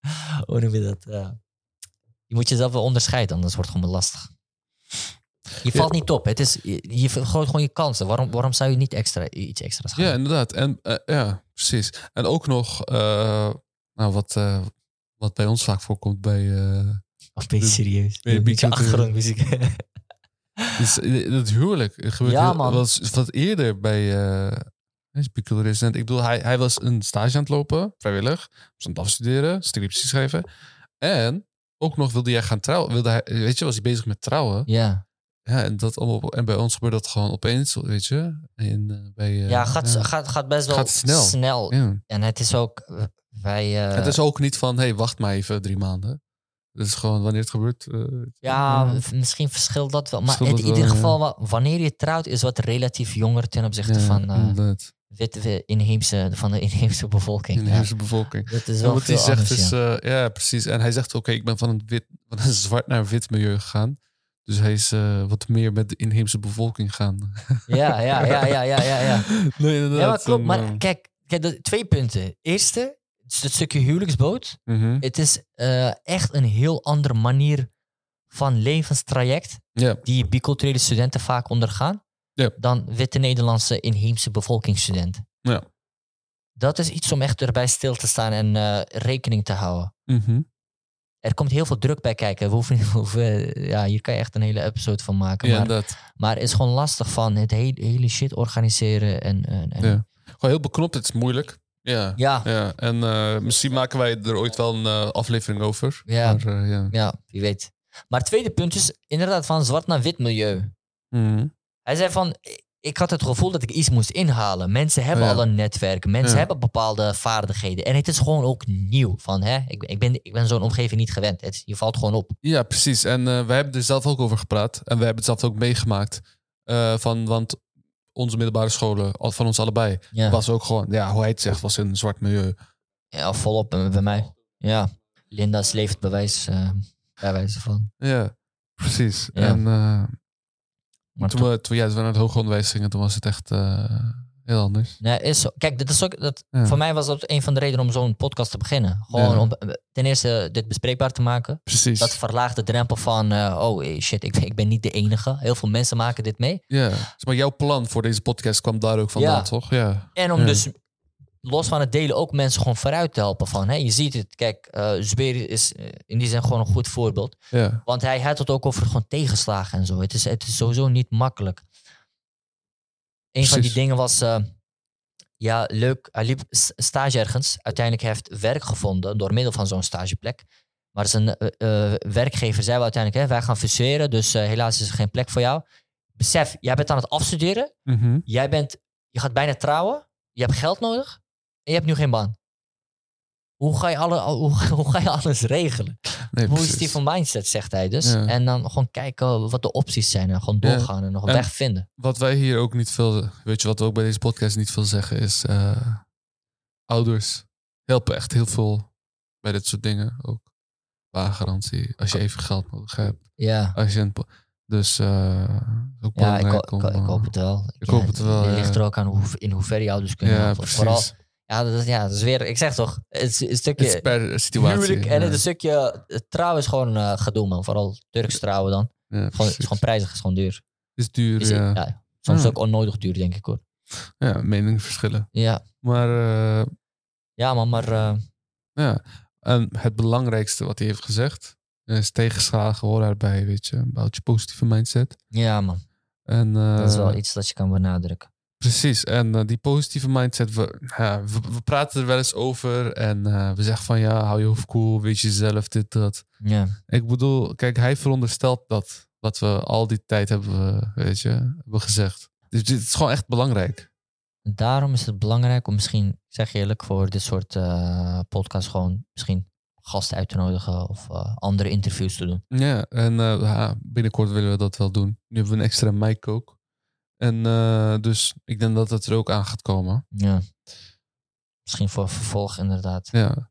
Speaker 2: hoe noem je dat? eh, je moet jezelf wel onderscheiden, anders wordt het gewoon lastig. Je valt niet op. Het is, je, je vergroot gewoon je kansen. Waarom, waarom zou je niet extra, iets extra's gaan
Speaker 1: Ja,
Speaker 2: doen?
Speaker 1: inderdaad. En eh, ja, precies. En ook nog, eh, nou, wat, eh, wat bij ons vaak voorkomt bij. eh,
Speaker 2: Of ben je
Speaker 1: de- ben
Speaker 2: serieus?
Speaker 1: je eh,
Speaker 2: Een
Speaker 1: beetje-
Speaker 2: beetje achtergrondmuziek.
Speaker 1: is, eh, dat huwelijk gebeurt
Speaker 2: Ja,
Speaker 1: heel-
Speaker 2: man.
Speaker 1: was wat eerder bij. eh is Piccolo Resident. Ik bedoel, hij, hij was een stage aan het lopen, vrijwillig. Was aan het afstuderen, scriptie schrijven. En ook nog wilde jij gaan trouwen. Wilde hij, eh, weet je, was hij bezig met trouwen.
Speaker 2: ja.
Speaker 1: Ja, en, dat allemaal, op- en bij ons gebeurt dat gewoon opeens, weet je. En, eh, bij, eh,
Speaker 2: ja, gaat, Gaat, gaat best wel
Speaker 1: Gaat snel. ja.
Speaker 2: En het is ook, eh, wij... eh,
Speaker 1: Het is ook niet van, hé, hey, wacht maar even drie maanden. Het is gewoon wanneer het gebeurt. eh,
Speaker 2: Ja,
Speaker 1: ja.
Speaker 2: v- misschien verschilt dat wel. Maar
Speaker 1: Verschilt dat
Speaker 2: in
Speaker 1: wel,
Speaker 2: ieder
Speaker 1: ja.
Speaker 2: geval, wa- wanneer je trouwt, is wat relatief jonger ten opzichte
Speaker 1: ja,
Speaker 2: van, eh,
Speaker 1: inderdaad.
Speaker 2: witte, wi- inheemse, van de inheemse bevolking.
Speaker 1: In de
Speaker 2: Ja,
Speaker 1: hele bevolking.
Speaker 2: dat is
Speaker 1: Ja,
Speaker 2: wel
Speaker 1: wat hij
Speaker 2: veel
Speaker 1: zegt
Speaker 2: anders,
Speaker 1: is,
Speaker 2: ja.
Speaker 1: ja. ja, precies. En hij zegt, oké, ik ben van een, wit, van een zwart naar een wit milieu gegaan. Dus hij is eh, wat meer met de inheemse bevolking gaan.
Speaker 2: ja, ja, ja, ja, ja, ja. ja.
Speaker 1: nee, inderdaad.
Speaker 2: ja, maar klopt.
Speaker 1: En,
Speaker 2: Maar
Speaker 1: eh,
Speaker 2: kijk, kijk dat, twee punten. Eerste, het is het stukje huwelijksboot.
Speaker 1: mhm.
Speaker 2: Het is eh, echt een heel andere manier van levenstraject
Speaker 1: Ja.
Speaker 2: die biculturele studenten vaak ondergaan
Speaker 1: Ja.
Speaker 2: dan witte Nederlandse inheemse bevolkingsstudenten.
Speaker 1: Ja.
Speaker 2: Dat is iets om echt erbij stil te staan en eh, rekening te houden.
Speaker 1: Mhm.
Speaker 2: Er komt heel veel druk bij kijken. We hoeven, we hoeven- ja, hier kan je echt een hele episode van maken.
Speaker 1: Ja,
Speaker 2: maar,
Speaker 1: inderdaad.
Speaker 2: maar het is gewoon lastig van het hele, hele shit organiseren. En, en, en-
Speaker 1: Ja. Gewoon heel beknopt, het is moeilijk. Ja. ja.
Speaker 2: ja,
Speaker 1: En eh, misschien maken wij er ooit wel een eh, aflevering over.
Speaker 2: Ja.
Speaker 1: Maar, eh, ja.
Speaker 2: ja, wie weet. Maar het tweede punt is inderdaad van zwart naar wit milieu.
Speaker 1: Mhm.
Speaker 2: Hij zei van, ik had het gevoel dat ik iets moest inhalen. Mensen hebben
Speaker 1: Oh Ja.
Speaker 2: al een netwerk. Mensen
Speaker 1: Ja.
Speaker 2: hebben bepaalde vaardigheden. En het is gewoon ook nieuw. Van, hè, ik, ik ben, ik ben zo'n omgeving niet gewend. Het, je valt gewoon op.
Speaker 1: Ja, precies. En eh, wij hebben er zelf ook over gepraat. En wij hebben het zelf ook meegemaakt. eh, van, want onze middelbare scholen, al- van ons allebei,
Speaker 2: Ja,
Speaker 1: was ook gewoon, ja, hoe hij het zegt, was in een zwart milieu.
Speaker 2: ja volop eh, bij mij. Ja, Linda's leeft bewijs, eh, bij wijze van.
Speaker 1: Ja, precies.
Speaker 2: Ja.
Speaker 1: En eh,
Speaker 2: Maar
Speaker 1: toen, we, toen, ja, toen we naar het hoger onderwijs gingen, toen was het echt eh, heel anders.
Speaker 2: Nee, is zo. Kijk, dit is ook, dat,
Speaker 1: Ja.
Speaker 2: voor mij was dat een van de redenen om zo'n podcast te beginnen. Gewoon
Speaker 1: Ja.
Speaker 2: om eh, ten eerste dit bespreekbaar te maken.
Speaker 1: Precies.
Speaker 2: Dat verlaagt de drempel van, eh, oh eh, shit, ik, ik ben niet de enige. Heel veel mensen maken dit mee.
Speaker 1: Ja. Dus maar jouw plan voor deze podcast kwam daar ook vandaan,
Speaker 2: Ja.
Speaker 1: toch? Ja.
Speaker 2: En om
Speaker 1: Ja.
Speaker 2: dus los van het delen ook mensen gewoon vooruit te helpen. Van, hè, je ziet het, kijk, eh Zuberi is eh, in die zin gewoon een goed voorbeeld.
Speaker 1: ja.
Speaker 2: Want hij had het ook over gewoon tegenslagen en zo. Het is, het is sowieso niet makkelijk. Een van die
Speaker 1: Precies.
Speaker 2: dingen was, eh, ja, leuk, hij liep s- stage ergens. Uiteindelijk heeft werk gevonden door middel van zo'n stageplek. Maar zijn eh, eh, werkgever zei wel uiteindelijk, hè, wij gaan fuseren, dus eh, helaas is er geen plek voor jou. Besef, jij bent aan het afstuderen
Speaker 1: Mhm.
Speaker 2: jij bent, je gaat bijna trouwen, je hebt geld nodig en je hebt nu geen baan. hoe ga je, alle, al- hoe, hoe ga je alles regelen?
Speaker 1: Nee, precies.
Speaker 2: Positieve mindset, zegt hij dus.
Speaker 1: Ja.
Speaker 2: En dan gewoon kijken wat de opties zijn. En gewoon
Speaker 1: Ja.
Speaker 2: doorgaan en nog een
Speaker 1: En-
Speaker 2: weg vinden.
Speaker 1: Wat wij hier ook niet veel... Weet je wat we ook bij deze podcast niet veel zeggen is... eh, ouders helpen echt heel veel bij dit soort dingen ook. Waargarantie. Als je even geld nodig hebt.
Speaker 2: Ja,
Speaker 1: Als je een po- dus eh, ook
Speaker 2: ja ik, ho-
Speaker 1: belangrijk
Speaker 2: ik, ho-
Speaker 1: om,
Speaker 2: ik hoop
Speaker 1: eh,
Speaker 2: het wel.
Speaker 1: ik
Speaker 2: Ja,
Speaker 1: hoop het wel, ja.
Speaker 2: ligt er ook aan hoe, in hoeverre je ouders kunnen
Speaker 1: Ja,
Speaker 2: helpen.
Speaker 1: precies.
Speaker 2: Vooral, ja, dat, is- ja, dat is weer... Ik zeg toch, het is een
Speaker 1: Het is
Speaker 2: stukje
Speaker 1: per situatie.
Speaker 2: huwelijk en
Speaker 1: ja.
Speaker 2: het een stukje eh, trouwen is gewoon eh gedoe, man. Vooral Turks trouwen dan.
Speaker 1: Ja,
Speaker 2: Gewoon, het
Speaker 1: precies.
Speaker 2: is gewoon prijzig, het is gewoon duur.
Speaker 1: Het Ah. is duur,
Speaker 2: Is-
Speaker 1: ja.
Speaker 2: ja, soms
Speaker 1: Ja.
Speaker 2: ook onnodig duur, denk ik hoor.
Speaker 1: Ja, meningsverschillen.
Speaker 2: Ja,
Speaker 1: Maar eh,
Speaker 2: ja man, maar eh,
Speaker 1: Ja, en het belangrijkste wat hij heeft gezegd eh, is tegenslagen hoor daarbij, weet je. Bouwt je positieve mindset.
Speaker 2: ja man,
Speaker 1: En, eh,
Speaker 2: dat is wel iets dat je kan benadrukken.
Speaker 1: Precies, en eh, die positieve mindset, we, ja, we, we praten er wel eens over en eh, we zeggen van ja, hou je hoofd cool, weet je zelf dit, dat.
Speaker 2: Ja,
Speaker 1: Ik bedoel, kijk, hij veronderstelt dat, wat we al die tijd hebben, eh, weet je, hebben gezegd. Dus dit is gewoon echt belangrijk.
Speaker 2: daarom is het belangrijk om misschien, ik zeg je eerlijk, voor dit soort eh podcasts gewoon misschien gasten uit te nodigen of eh, andere interviews te doen.
Speaker 1: Ja, en eh, ja, binnenkort willen we dat wel doen. Nu hebben we een extra mic ook. En eh, dus ik denk dat dat er ook aan gaat komen.
Speaker 2: Ja. Misschien voor vervolg inderdaad.
Speaker 1: Ja,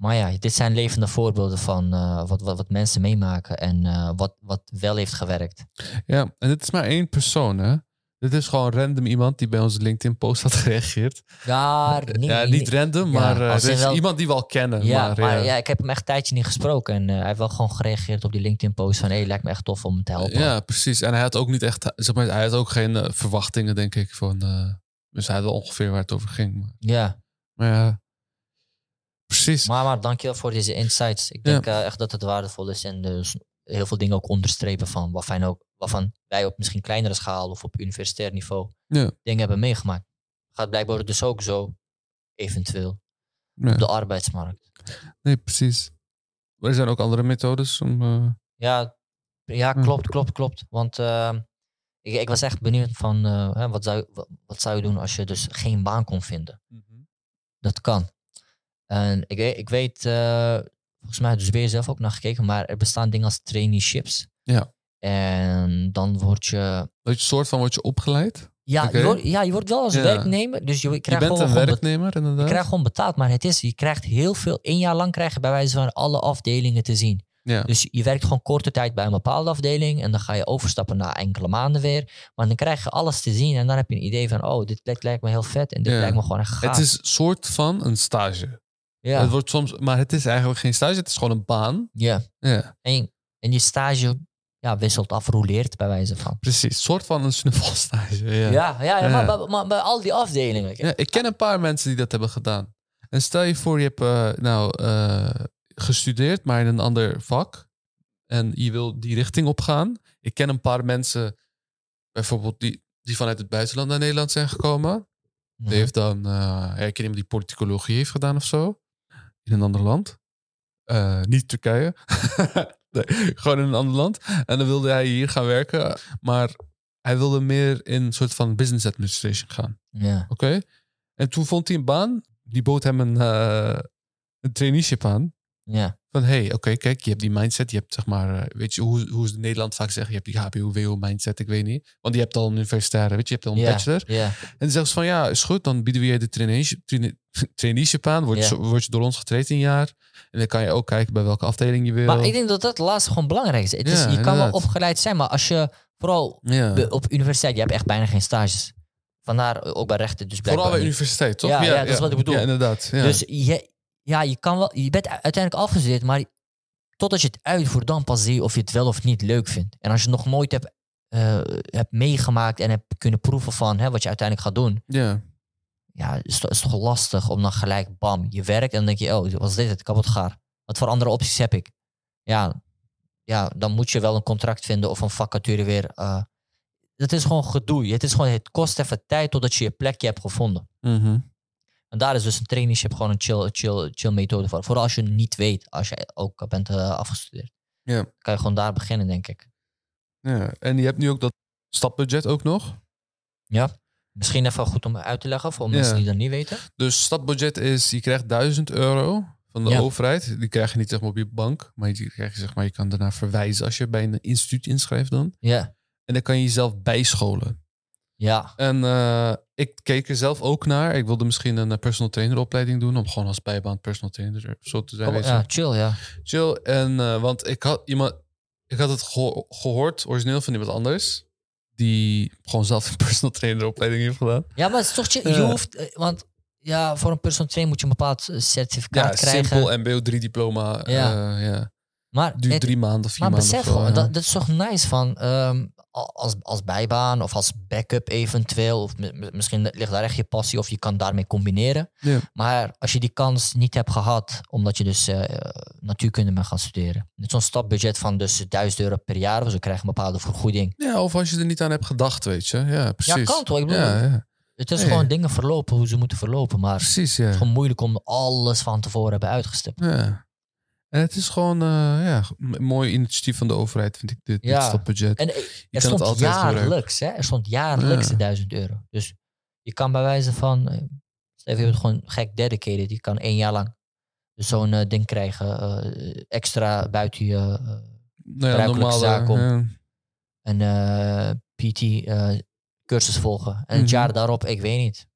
Speaker 2: Maar ja, dit zijn levende voorbeelden van eh, wat, wat, wat mensen meemaken en eh, wat, wat wel heeft gewerkt.
Speaker 1: ja. en dit is maar één persoon, hè? Dit is gewoon random iemand die bij onze LinkedIn-post had gereageerd.
Speaker 2: Ja, niet,
Speaker 1: ja, niet random,
Speaker 2: ja,
Speaker 1: maar eh,
Speaker 2: als
Speaker 1: dit
Speaker 2: in
Speaker 1: is
Speaker 2: wel-
Speaker 1: iemand die we al kennen.
Speaker 2: Ja,
Speaker 1: Eh, maar,
Speaker 2: maar, ja. ik heb hem echt een tijdje niet gesproken. En eh, hij heeft wel gewoon gereageerd op die LinkedIn-post van... hé, hey, lijkt me echt tof om te helpen.
Speaker 1: ja, precies. En hij had ook niet echt, zeg maar, hij had ook geen eh, verwachtingen, denk ik. Van, eh, dus hij had wel ongeveer waar het over ging. Maar,
Speaker 2: Ja.
Speaker 1: maar ja, precies.
Speaker 2: Maar, maar dankjewel voor deze insights. Ik denk eh, echt dat het waardevol is. En dus heel veel dingen ook onderstrepen van... waarvan, ook, waarvan wij op misschien kleinere schaal of op universitair niveau...
Speaker 1: Ja.
Speaker 2: dingen hebben meegemaakt. Gaat blijkbaar dus ook zo, eventueel,
Speaker 1: Ja.
Speaker 2: op de arbeidsmarkt.
Speaker 1: Nee, precies. Maar er zijn ook andere methodes om... eh,
Speaker 2: Ja, ja
Speaker 1: Hm.
Speaker 2: klopt, klopt, klopt. Want eh, ik, ik was echt benieuwd van... eh, hè, wat, zou, wat, wat zou je doen als je dus geen baan kon vinden? Mhm. Dat kan. En ik, weet- ik weet, eh, volgens mij, dus ben je zelf ook naar gekeken, maar er bestaan dingen als traineeships.
Speaker 1: Ja.
Speaker 2: En dan word je.
Speaker 1: dat je soort van wordt je opgeleid.
Speaker 2: Ja,
Speaker 1: Oké.
Speaker 2: je, wordt, ja je wordt wel als
Speaker 1: Ja.
Speaker 2: werknemer, dus je,
Speaker 1: Je
Speaker 2: krijgt
Speaker 1: bent
Speaker 2: gewoon,
Speaker 1: een
Speaker 2: gewoon be-
Speaker 1: werknemer,
Speaker 2: je
Speaker 1: inderdaad.
Speaker 2: krijgt gewoon betaald, maar het is, je krijgt heel veel. Een jaar lang krijg je bij wijze van alle afdelingen te zien.
Speaker 1: Ja.
Speaker 2: Dus je- je werkt gewoon korte tijd bij een bepaalde afdeling en dan ga je overstappen na enkele maanden weer. Maar dan krijg je alles te zien en dan heb je een idee van, oh, dit lijkt- lijkt me heel vet en dit
Speaker 1: Ja.
Speaker 2: lijkt me gewoon echt gaaf.
Speaker 1: Het is soort van een stage.
Speaker 2: ja.
Speaker 1: Het wordt soms, maar het is eigenlijk geen stage, het is gewoon een baan.
Speaker 2: ja.
Speaker 1: Ja,
Speaker 2: En, en je stage ja, wisselt af, roleert bij wijze van.
Speaker 1: precies. Soort van een snuffelstage. Ja.
Speaker 2: Ja, ja, ja,
Speaker 1: Ja.
Speaker 2: Maar, bij, maar bij al die afdelingen.
Speaker 1: Ja, ik ken een paar mensen die dat hebben gedaan. En stel je voor, je hebt eh, nou eh, gestudeerd, maar in een ander vak. En je wil die richting opgaan. Ik ken een paar mensen, bijvoorbeeld die, die vanuit het buitenland naar Nederland zijn gekomen.
Speaker 2: Mhm.
Speaker 1: Die heeft dan, eh ja, ik ken iemand die politicologie heeft gedaan of zo. In een ander land. Eh, niet Turkije. nee, gewoon in een ander land. En dan wilde hij hier gaan werken. Maar hij wilde meer in een soort van business administration gaan.
Speaker 2: Ja.
Speaker 1: Oké? En toen vond hij een baan. Die bood hem een, eh, een traineeship aan.
Speaker 2: Ja.
Speaker 1: Van hé, hey, oké, kijk, je hebt die mindset. Je hebt zeg maar, eh, weet je hoe, hoe ze in Nederland vaak zeggen. Je hebt die HBO-mindset, ik weet niet. Want je hebt al een universitaire, weet je. Je hebt al een
Speaker 2: Ja.
Speaker 1: bachelor.
Speaker 2: Ja.
Speaker 1: En zeggen ze van ja, is goed, dan bieden we je de traineeship, traine- traineeship aan. Word, je
Speaker 2: Ja.
Speaker 1: zo- word je door ons getraind in een jaar. En dan kan je ook kijken bij welke afdeling je wil.
Speaker 2: Maar ik denk dat dat laatste gewoon belangrijk is. Het is
Speaker 1: Ja,
Speaker 2: je kan wel
Speaker 1: inderdaad.
Speaker 2: opgeleid zijn, maar als je vooral
Speaker 1: ja.
Speaker 2: be- op universiteit, je hebt echt bijna geen stages. Vandaar ook bij rechten, dus
Speaker 1: Vooral bij
Speaker 2: blijkbaar niet.
Speaker 1: universiteit, toch?
Speaker 2: Ja, ja, dat is wat ik bedoel.
Speaker 1: Ja, inderdaad. Ja.
Speaker 2: Dus je, ja, je, kan wel, je bent u- uiteindelijk afgestudeerd, maar totdat je het uitvoert, dan pas zie je of je het wel of niet leuk vindt. En als je het nog nooit hebt, eh, hebt meegemaakt en hebt kunnen proeven van hè, wat je uiteindelijk gaat doen,
Speaker 1: ja.
Speaker 2: ja, is, to- is toch lastig om dan gelijk, bam, je werkt en dan denk je, oh, was dit het, kapot gaar. Wat voor andere opties heb ik? Ja, ja, dan moet je wel een contract vinden of een vacature weer. eh het is gewoon gedoe. Het, is gewoon, het kost even tijd totdat je je plekje hebt gevonden.
Speaker 1: Mhm.
Speaker 2: En daar is dus een traineeship gewoon een chill, chill, chill methode voor. Vooral als je niet weet, als je ook bent eh, afgestudeerd.
Speaker 1: Ja.
Speaker 2: Kan je gewoon daar beginnen, denk ik.
Speaker 1: ja. En je hebt nu ook dat stapbudget ook nog.
Speaker 2: Ja. Misschien even goed om uit te leggen voor
Speaker 1: Ja.
Speaker 2: mensen die dat niet weten.
Speaker 1: Dus stadbudget is, je krijgt 1000 euro van de
Speaker 2: Ja.
Speaker 1: overheid. Die krijg je niet zeg maar, op je bank, maar je, krijg je, zeg maar, je kan daarna verwijzen als je bij een instituut inschrijft dan.
Speaker 2: Ja,
Speaker 1: En dan kan je jezelf bijscholen.
Speaker 2: ja,
Speaker 1: En eh, ik keek er zelf ook naar. Ik wilde misschien een eh, personal trainer opleiding doen. Om gewoon als bijbaan personal trainer er zo te zijn.
Speaker 2: Oh,
Speaker 1: weet je.
Speaker 2: ja chill, ja.
Speaker 1: Chill. En, eh, want ik had, iemand, ik had het geho- gehoord, origineel van iemand anders. Die gewoon zelf een personal trainer opleiding heeft gedaan.
Speaker 2: Ja, maar het is toch chill. Je
Speaker 1: Ja.
Speaker 2: hoeft, eh, want ja, voor een personal trainer moet je een bepaald eh,
Speaker 1: Ja,
Speaker 2: certificaat krijgen.
Speaker 1: simpel MBO 3 diploma. eh,
Speaker 2: Ja.
Speaker 1: Ja.
Speaker 2: Maar
Speaker 1: Duurt
Speaker 2: het-
Speaker 1: drie maanden, vier
Speaker 2: Maar
Speaker 1: maanden.
Speaker 2: besef
Speaker 1: of zo,
Speaker 2: gewoon,
Speaker 1: ja.
Speaker 2: dat, dat is toch nice van ehm, a- als, als bijbaan of als backup eventueel. Of mi- mi- misschien ligt daar echt je passie of je kan daarmee combineren.
Speaker 1: Ja.
Speaker 2: Maar als je die kans niet hebt gehad, omdat je dus eh, eh, natuurkunde bent gaan studeren. Met zo'n stapbudget van dus 1000 euro per jaar, of zo krijg je een bepaalde vergoeding.
Speaker 1: Ja, of als je er niet aan hebt gedacht, weet je. Ja, precies.
Speaker 2: kan toch? Ik bedoel-
Speaker 1: Ja, ja.
Speaker 2: Het is
Speaker 1: Nee.
Speaker 2: gewoon dingen verlopen hoe ze moeten verlopen, maar het
Speaker 1: Precies,
Speaker 2: is
Speaker 1: ja.
Speaker 2: gewoon moeilijk om alles van tevoren hebben uitgestippeld.
Speaker 1: ja. En het is gewoon eh, ja, een mooi initiatief van de overheid, vind ik, dit,
Speaker 2: Ja.
Speaker 1: dit stapbudget.
Speaker 2: En eh, er
Speaker 1: kan het
Speaker 2: stond
Speaker 1: altijd Ah. gebruiken.
Speaker 2: jaarlijks, hè? Er stond jaarlijks
Speaker 1: Ja.
Speaker 2: de 1000 euro. Dus je kan bij wijze van, eh, stel je hebt gewoon gek dedicated, je kan één jaar lang zo'n eh, ding krijgen, eh, extra buiten je eh,
Speaker 1: Nou ja,
Speaker 2: gebruikelijke
Speaker 1: normaal.
Speaker 2: zaak om-
Speaker 1: ja.
Speaker 2: en eh, PT eh, cursus volgen. En het
Speaker 1: Mhm.
Speaker 2: jaar daarop, ik weet niet.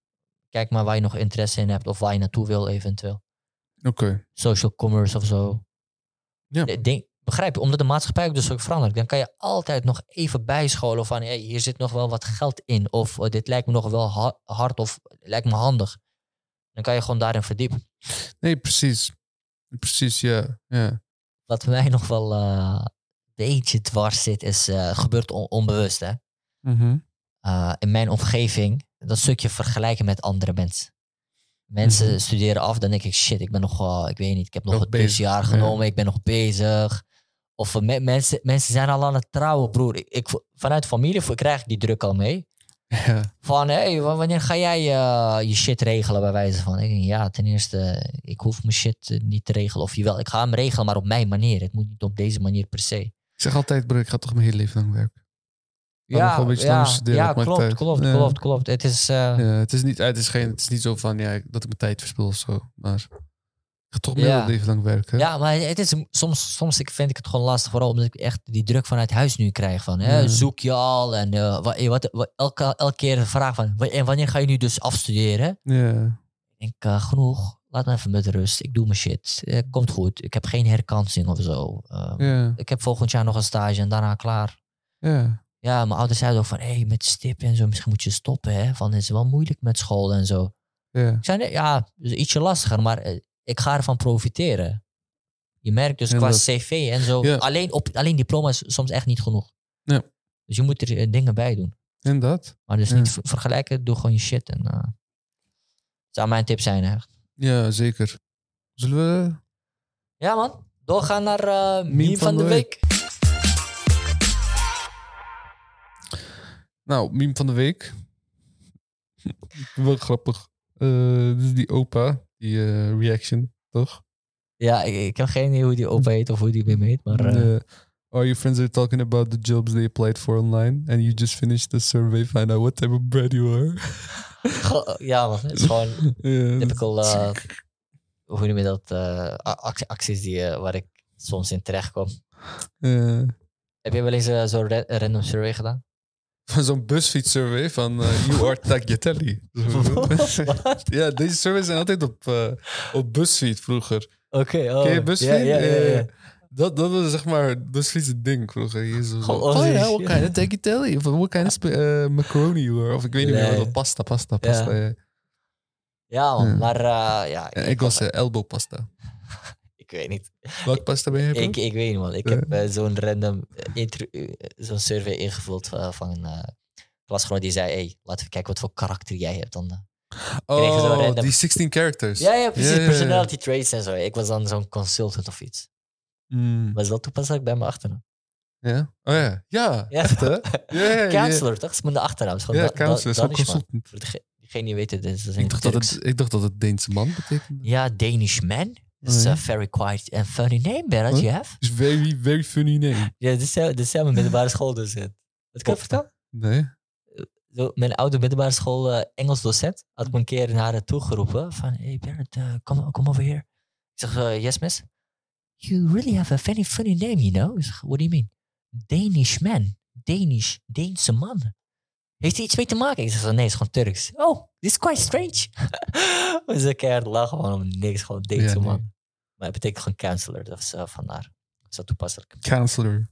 Speaker 2: Kijk maar waar je nog interesse in hebt of waar je naartoe wil eventueel.
Speaker 1: Oké.
Speaker 2: Social commerce of zo.
Speaker 1: Ja.
Speaker 2: Ik Denk, begrijp je, omdat de maatschappij ook dus ook verandert, dan kan je altijd nog even bijscholen van hey, hier zit nog wel wat geld in. Of eh, dit lijkt me nog wel ha- hard of lijkt me handig. Dan kan je gewoon daarin verdiepen.
Speaker 1: Nee, precies. Precies, ja. ja.
Speaker 2: Wat mij nog wel eh, een beetje dwars zit, is eh, gebeurt on- onbewust hè.
Speaker 1: Mhm.
Speaker 2: eh, in mijn omgeving dat stukje vergelijken met andere mensen. Mensen
Speaker 1: Mhm.
Speaker 2: studeren af, dan denk ik, shit, ik ben nog, wel- ik weet niet, ik heb nog,
Speaker 1: Nog
Speaker 2: het
Speaker 1: bezig,
Speaker 2: tussenjaar
Speaker 1: ja.
Speaker 2: genomen, ik ben nog bezig. Of eh, me- mensen, mensen zijn al aan het trouwen, broer. Ik, ik vo- vanuit familie vo- krijg ik die druk al mee.
Speaker 1: ja.
Speaker 2: Van, hé, hey, wa- wanneer ga jij eh, je shit regelen, bij wijze van. Ik denk, ja, ten eerste, ik hoef mijn shit eh, niet te regelen. Of jawel, ik ga hem regelen, maar op mijn manier. Het moet niet op deze manier per se.
Speaker 1: Ik zeg altijd, broer, ik ga toch mijn hele leven lang werken. Laat me
Speaker 2: Ja,
Speaker 1: gewoon een beetje
Speaker 2: ja,
Speaker 1: langer studeren,
Speaker 2: ja
Speaker 1: dat maakt
Speaker 2: klopt,
Speaker 1: uit.
Speaker 2: klopt,
Speaker 1: Ja.
Speaker 2: klopt, klopt. Het is... eh,
Speaker 1: Ja, het, is niet, het, is geen, het is niet zo van, ja, dat ik mijn tijd verspil of zo. Maar ik ga toch mijn
Speaker 2: Ja.
Speaker 1: hele leven lang werken.
Speaker 2: Ja, maar het is, soms, soms ik- vind ik het gewoon lastig. Vooral omdat ik echt die druk vanuit huis nu krijg. Van, hè,
Speaker 1: Ja.
Speaker 2: zoek je al. En eh, wa- eh, wat, wat- elke, elke keer de vraag van, wa- en wanneer ga je nu dus afstuderen?
Speaker 1: Ja.
Speaker 2: Ik denk, eh, genoeg. Laat me even met rust. Ik doe mijn shit. Eh, komt goed. Ik heb geen herkansing of zo. Eh,
Speaker 1: Ja.
Speaker 2: Ik heb volgend jaar nog een stage en daarna klaar.
Speaker 1: ja.
Speaker 2: Ja, mijn ouders zeiden ook van, hé, met stip en zo. Misschien moet je stoppen, hè. Van, het is wel moeilijk met school en zo.
Speaker 1: ja.
Speaker 2: Ik zei, nee, ja, dus ietsje lastiger, maar eh, ik ga ervan profiteren. Je merkt dus
Speaker 1: Heel
Speaker 2: qua
Speaker 1: leuk.
Speaker 2: cv en zo,
Speaker 1: Ja.
Speaker 2: alleen, op, alleen diploma is soms echt niet genoeg.
Speaker 1: Ja.
Speaker 2: Dus je moet er eh, dingen bij doen.
Speaker 1: En dat?
Speaker 2: Maar dus
Speaker 1: Ja.
Speaker 2: niet ver- vergelijken, doe gewoon je shit. En, eh, zou mijn tip zijn, hè.
Speaker 1: Ja, zeker. Zullen we...
Speaker 2: Ja man, doorgaan naar eh meme, van, de, week.
Speaker 1: Nou, meme van de week. Wel grappig. Eh, dit is die opa, die eh, reaction, toch?
Speaker 2: Ja, ik, ik heb geen idee hoe die opa heet of hoe die meme heet, maar... eh,
Speaker 1: Eh, are your friends are talking about the jobs they applied for online and you just finished the survey, find out what type of bread you are.
Speaker 2: ge- ja man, het is gewoon
Speaker 1: Ja, dat-
Speaker 2: typical, eh, hoe noem je dat, eh, a- act- acties die, eh, waar ik soms in terecht kom.
Speaker 1: ja.
Speaker 2: Heb je wel eens eh, zo'n ra- random survey gedaan?
Speaker 1: Van zo'n busfiets-survey van eh, you are Tagliatelli. oh. ja, deze surveys zijn altijd op, eh op busfiets vroeger.
Speaker 2: Oké, oh.
Speaker 1: Ken je busfiets?
Speaker 2: Ja, ja, ja, ja.
Speaker 1: Eh, dat, dat was zeg maar busfiets het ding vroeger. Hier is zo,
Speaker 2: Gewoon
Speaker 1: oh
Speaker 2: Aussies,
Speaker 1: ja, what
Speaker 2: ja.
Speaker 1: kind of tagliatelle? Of what kind of sp- eh, macaroni you are? Of ik weet niet meer
Speaker 2: Nee.
Speaker 1: wat. dat- Pasta, pasta, pasta. ja.
Speaker 2: Ja, man,
Speaker 1: Ja.
Speaker 2: maar eh, ja,
Speaker 1: Ja, ik was eh, elbow pasta.
Speaker 2: ik weet niet.
Speaker 1: Welk pasta ben je? bro?
Speaker 2: Ik, ik weet niet, man. Ik
Speaker 1: Ja.
Speaker 2: heb eh, zo'n random eh, intro- eh, zo'n survey ingevuld eh, van eh klasgenoot die zei, hey, laten we kijken wat voor karakter jij hebt dan. eh." kregen zo'n
Speaker 1: oh,
Speaker 2: random-
Speaker 1: die 16 characters.
Speaker 2: Ja, ja, precies.
Speaker 1: Dus- Ja, ja, ja.
Speaker 2: Personality traits en zo. Ik was dan zo'n consultant of iets.
Speaker 1: Mm,
Speaker 2: Was wel toepasselijk bij mijn achternaam.
Speaker 1: ja? Oh ja. Ja,
Speaker 2: Ja.
Speaker 1: echt hè? Ja, ja, ja.
Speaker 2: Counselor, toch? Dat is mijn achternaam. Het is gewoon
Speaker 1: Ja,
Speaker 2: Da- Da-
Speaker 1: counselor. Zo'n
Speaker 2: Danishman.
Speaker 1: consultant.
Speaker 2: Voor dege- diegenen die weten, dit is
Speaker 1: Ik dacht, dat het, ik dacht dat het Deense man betekende.
Speaker 2: Ja, Danish man. It's
Speaker 1: Nee.
Speaker 2: a very quiet and funny name that
Speaker 1: Huh?
Speaker 2: you have.
Speaker 1: Is very, very funny name.
Speaker 2: Ja, dit zijn, dit zijn mijn middelbare school dus. eh. Dat kan ik vertellen?
Speaker 1: Nee?
Speaker 2: zo, mijn oude middelbare school eh, Engels docent had me een keer naar haar toe geroepen van hey Bernard, eh, come, come over here. Ik zeg, eh, yes miss. You really have a very funny name, you know. Ik zeg, what do you mean? Danish man. Danish. Deense man. Heeft hij iets mee te maken? Ik zeg, nee, het is gewoon Turks. Oh, this is quite strange. We zijn keihard lachen gewoon om niks. Gewoon Deense
Speaker 1: Ja, nee.
Speaker 2: man. Maar het betekent gewoon counselor. Dat is eh, vandaar. Dat is wel toepasselijk.
Speaker 1: Counselor.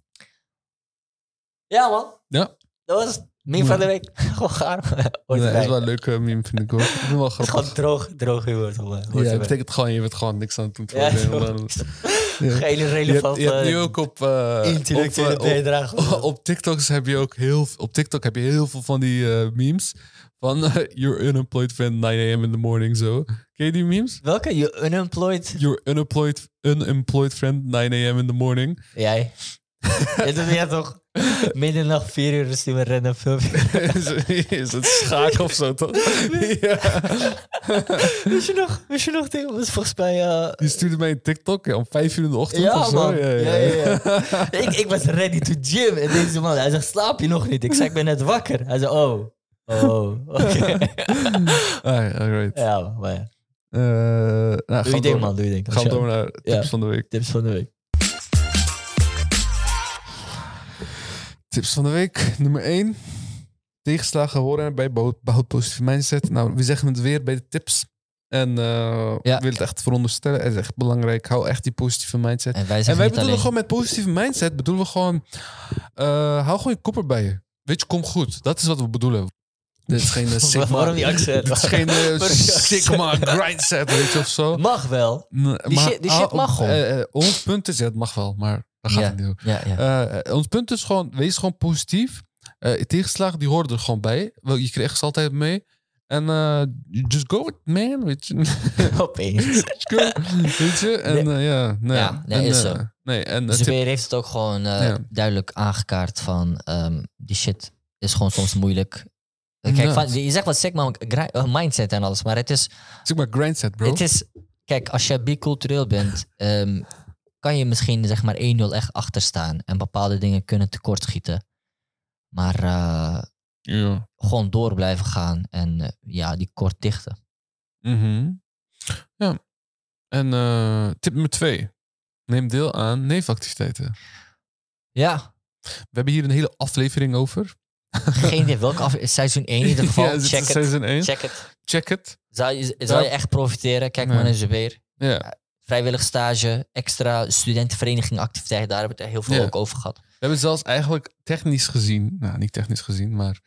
Speaker 2: Ja, man.
Speaker 1: Ja.
Speaker 2: Dat was het meme van de
Speaker 1: Ja.
Speaker 2: week. Gewoon gaar. Hoort
Speaker 1: Nee, dat is
Speaker 2: erbij.
Speaker 1: wel eh, een leuke meme, vind ik hoor. Ik vind het wel
Speaker 2: Het is gewoon
Speaker 1: grappig.
Speaker 2: droog, droog humor. toch, eh? Hoort
Speaker 1: Ja,
Speaker 2: erbij.
Speaker 1: dat betekent gewoon, je bent gewoon niks aan het doen.
Speaker 2: Ja,
Speaker 1: Gewoon,
Speaker 2: zo.
Speaker 1: dan-
Speaker 2: Geen
Speaker 1: je, hebt,
Speaker 2: relevante...
Speaker 1: je hebt nu ook op... eh,
Speaker 2: intellectuele
Speaker 1: op, eh, op-
Speaker 2: bijdrage.
Speaker 1: Oh, op TikToks heb je ook heel v- op TikTok heb je heel veel van die eh, memes van eh, you're unemployed fan 9 a.m. in the morning zo. Ken je die memes?
Speaker 2: Welke? Je unemployed?
Speaker 1: Your unemployed unemployed friend 9 a.m. in the morning.
Speaker 2: Jij. Je doet jij toch? Middernacht, vier uur, is die een random filmpje.
Speaker 1: is, is het schaak of zo toch? ja.
Speaker 2: Wist je nog? Wist je nog? Ding? Dat was volgens mij... eh,
Speaker 1: Die stuurde mij een TikTok ja, om 5 uur in de ochtend
Speaker 2: Ja,
Speaker 1: of zo.
Speaker 2: man. Ja, ja, ik, ik was ready to gym. En deze man, hij zegt, slaap je nog niet? Ik zei, ik ben net wakker. Hij zei, oh. Oh, oké.
Speaker 1: Alright, Ah, alright.
Speaker 2: ja, man, maar ja.
Speaker 1: Eh, nou,
Speaker 2: Doe
Speaker 1: gaan we
Speaker 2: je ding,
Speaker 1: door-
Speaker 2: man. Doe je ding.
Speaker 1: Gaan we door naar tips
Speaker 2: Ja.
Speaker 1: van de week.
Speaker 2: Tips van de week.
Speaker 1: Tips van de week, nummer 1. Tegenslagen horen bij behoud, behoud positieve mindset. Nou, we zeggen het weer bij de tips. En eh
Speaker 2: Ja.
Speaker 1: ik wil het echt veronderstellen. Het is echt belangrijk. Hou echt die positieve mindset.
Speaker 2: En wij
Speaker 1: en wij
Speaker 2: zeggen niet
Speaker 1: bedoelen
Speaker 2: alleen...
Speaker 1: gewoon met positieve mindset, bedoelen we gewoon... eh, hou gewoon je kopper bij je. Weet je, kom goed. Dat is wat we bedoelen. Dit is geen eh, sigma...
Speaker 2: Waarom die accent?
Speaker 1: Dit is geen eh,
Speaker 2: die accent?
Speaker 1: sigma grindset, weet je, of zo.
Speaker 2: Mag wel.
Speaker 1: N-
Speaker 2: Die shit- die shit
Speaker 1: hou-
Speaker 2: mag gewoon.
Speaker 1: eh, eh, ons punt is, ja, het mag wel, maar daar gaat het niet om.
Speaker 2: Ja, ja.
Speaker 1: Eh, ons punt is gewoon, wees gewoon positief. Eh tegenslagen, die horen er gewoon bij. Wel, Je krijgt ze altijd mee. En eh, just go with it, man. Weet je.
Speaker 2: Opeens.
Speaker 1: Just go. Weet je? En eh, ja, nee.
Speaker 2: Ja, nee,
Speaker 1: en,
Speaker 2: is
Speaker 1: eh,
Speaker 2: zo. Dus
Speaker 1: nee, en eh,
Speaker 2: Zubair
Speaker 1: tip-
Speaker 2: heeft het ook gewoon eh,
Speaker 1: Ja.
Speaker 2: duidelijk aangekaart van ehm, die shit is gewoon soms moeilijk. Eh, Kijk,
Speaker 1: Ja.
Speaker 2: van, je zegt wat sigma gri- eh, mindset en alles, maar het is,
Speaker 1: zeg maar grindset, bro.
Speaker 2: het is kijk, als je bicultureel bent, ehm, kan je misschien zeg maar 1-0 echt achterstaan en bepaalde dingen kunnen tekortschieten. Maar eh,
Speaker 1: Ja.
Speaker 2: gewoon door blijven gaan en eh, ja, die kort dichten.
Speaker 1: Mhm. ja. En eh, tip nummer twee. Neem deel aan neefactiviteiten.
Speaker 2: Ja,
Speaker 1: We hebben hier een hele aflevering over.
Speaker 2: geen idee welke af seizoen 1 in ieder geval.
Speaker 1: Ja, dit is
Speaker 2: check het.
Speaker 1: seizoen één.
Speaker 2: Check het.
Speaker 1: Check het.
Speaker 2: Zou je, zou je echt profiteren? Kijk
Speaker 1: Nee.
Speaker 2: maar naar Zubair.
Speaker 1: Ja.
Speaker 2: vrijwillig stage, extra studentenvereniging activiteit, daar hebben we het heel veel
Speaker 1: Ja.
Speaker 2: ook over gehad.
Speaker 1: We hebben zelfs eigenlijk technisch gezien, nou niet technisch gezien, maar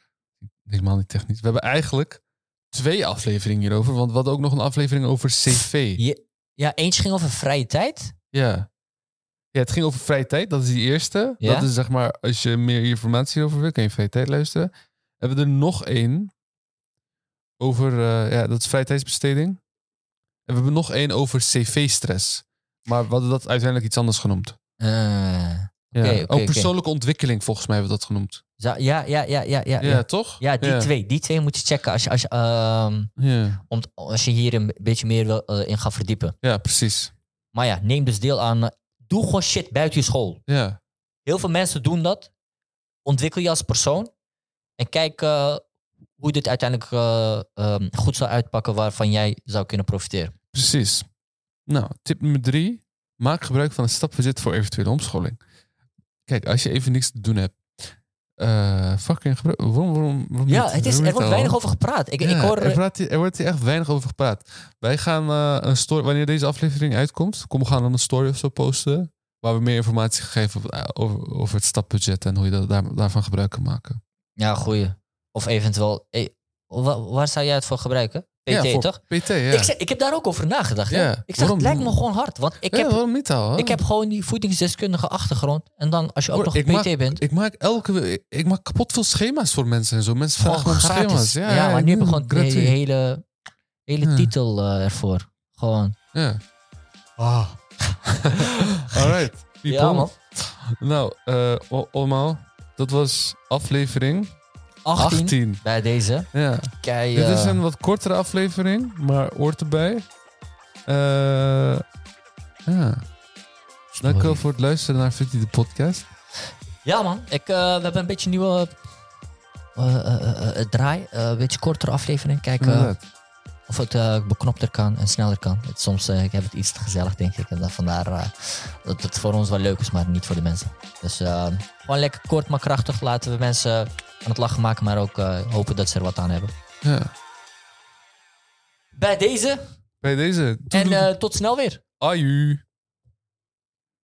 Speaker 1: helemaal niet technisch. We hebben eigenlijk twee afleveringen hierover, want we hadden ook nog een aflevering over CV.
Speaker 2: Ja. Ja, eentje ging over vrije tijd.
Speaker 1: Ja. Ja, het ging over vrije tijd, dat is die eerste.
Speaker 2: Ja?
Speaker 1: Dat is zeg maar, als je meer informatie over wil, kan je vrije tijd luisteren. Hebben we er nog één over, eh, ja, dat is vrije tijdsbesteding. En we hebben nog één over CV-stress. Maar we hadden dat uiteindelijk iets anders genoemd.
Speaker 2: Eh,
Speaker 1: Ja.
Speaker 2: Oké, oké,
Speaker 1: oh,
Speaker 2: oké.
Speaker 1: persoonlijke ontwikkeling, volgens mij hebben we dat genoemd.
Speaker 2: zou- ja, ja, ja, ja, ja,
Speaker 1: Ja,
Speaker 2: ja.
Speaker 1: toch?
Speaker 2: Ja, die twee. Die twee moet je checken als je, als je, ehm,
Speaker 1: Ja.
Speaker 2: om, als je hier een beetje meer wil, eh, in gaat verdiepen.
Speaker 1: Ja, precies.
Speaker 2: Maar ja, neem dus deel aan. eh, doe gewoon shit buiten je school.
Speaker 1: Ja,
Speaker 2: Heel veel mensen doen dat. Ontwikkel je als persoon. En kijk eh, hoe dit uiteindelijk eh, ehm, goed zal uitpakken waarvan jij zou kunnen profiteren.
Speaker 1: precies. Nou, tip nummer drie. Maak gebruik van een stapverzet voor eventuele omscholing. Kijk, als je even niks te doen hebt. eh, fucking gebru- Waarom, waarom, waarom
Speaker 2: Ja,
Speaker 1: niet?
Speaker 2: het is,
Speaker 1: Waarom
Speaker 2: er
Speaker 1: niet
Speaker 2: wordt
Speaker 1: al?
Speaker 2: weinig over gepraat. Ik, ik
Speaker 1: Ja,
Speaker 2: hoor...
Speaker 1: er, praat, hier- er wordt hier echt weinig over gepraat. Wij gaan eh, een story... Wanneer deze aflevering uitkomt, kom, we gaan dan een story of zo posten... waar we meer informatie geven over, over, over het stapbudget... en hoe je dat, daar, daarvan gebruik kan maken.
Speaker 2: Ja, goeie. Of eventueel... eh, wa- waar zou jij het voor gebruiken? PT,
Speaker 1: Ja, voor
Speaker 2: toch?
Speaker 1: PT, ja.
Speaker 2: Ik, zei- ik heb daar ook over nagedacht. hè.
Speaker 1: Ja,
Speaker 2: Ik dacht,
Speaker 1: waarom?
Speaker 2: het lijkt me gewoon hard. Want ik,
Speaker 1: Ja,
Speaker 2: heb,
Speaker 1: waarom niet al? hè?
Speaker 2: ik heb gewoon die voedingsdeskundige achtergrond. En dan, als je ook
Speaker 1: Hoor,
Speaker 2: nog
Speaker 1: ik
Speaker 2: PT
Speaker 1: maak-
Speaker 2: bent...
Speaker 1: Ik maak elke ik, ik maak kapot veel schema's voor mensen en zo. Mensen
Speaker 2: Gewoon
Speaker 1: vragen om
Speaker 2: gratis.
Speaker 1: schema's.
Speaker 2: Ja,
Speaker 1: Ja, ja,
Speaker 2: maar
Speaker 1: ik
Speaker 2: nu heb
Speaker 1: doe
Speaker 2: ik gewoon die
Speaker 1: gratuit.
Speaker 2: hele, hele
Speaker 1: Ja.
Speaker 2: titel eh, ervoor. Gewoon.
Speaker 1: Ja. Ah. Alright. people.
Speaker 2: Ja, man.
Speaker 1: Nou, eh, o- allemaal. Dat was aflevering
Speaker 2: 18,
Speaker 1: 18.
Speaker 2: bij deze.
Speaker 1: Ja.
Speaker 2: Kei,
Speaker 1: Dit is
Speaker 2: eh,
Speaker 1: een wat kortere aflevering, maar hoort erbij. Eh, ja. Dank wel voor het luisteren naar Fitty de podcast.
Speaker 2: Ja, man. Ik, eh, we hebben een beetje nieuwe... eh, eh, eh, eh, draai. eh, een beetje kortere aflevering. Kijken eh,
Speaker 1: Inderdaad.
Speaker 2: of het eh, beknopter kan en sneller kan. Het- soms eh, ik heb het iets te gezellig, denk ik. En dan vandaar eh, dat het voor ons wel leuk is, maar niet voor de mensen. Dus eh, gewoon lekker kort, maar krachtig. Laten we mensen aan het lachen maken, maar ook eh, hopen dat ze er wat aan hebben.
Speaker 1: Ja.
Speaker 2: Bij deze.
Speaker 1: Bij deze.
Speaker 2: En
Speaker 1: Toedeloe-
Speaker 2: eh, tot snel weer.
Speaker 1: Aju.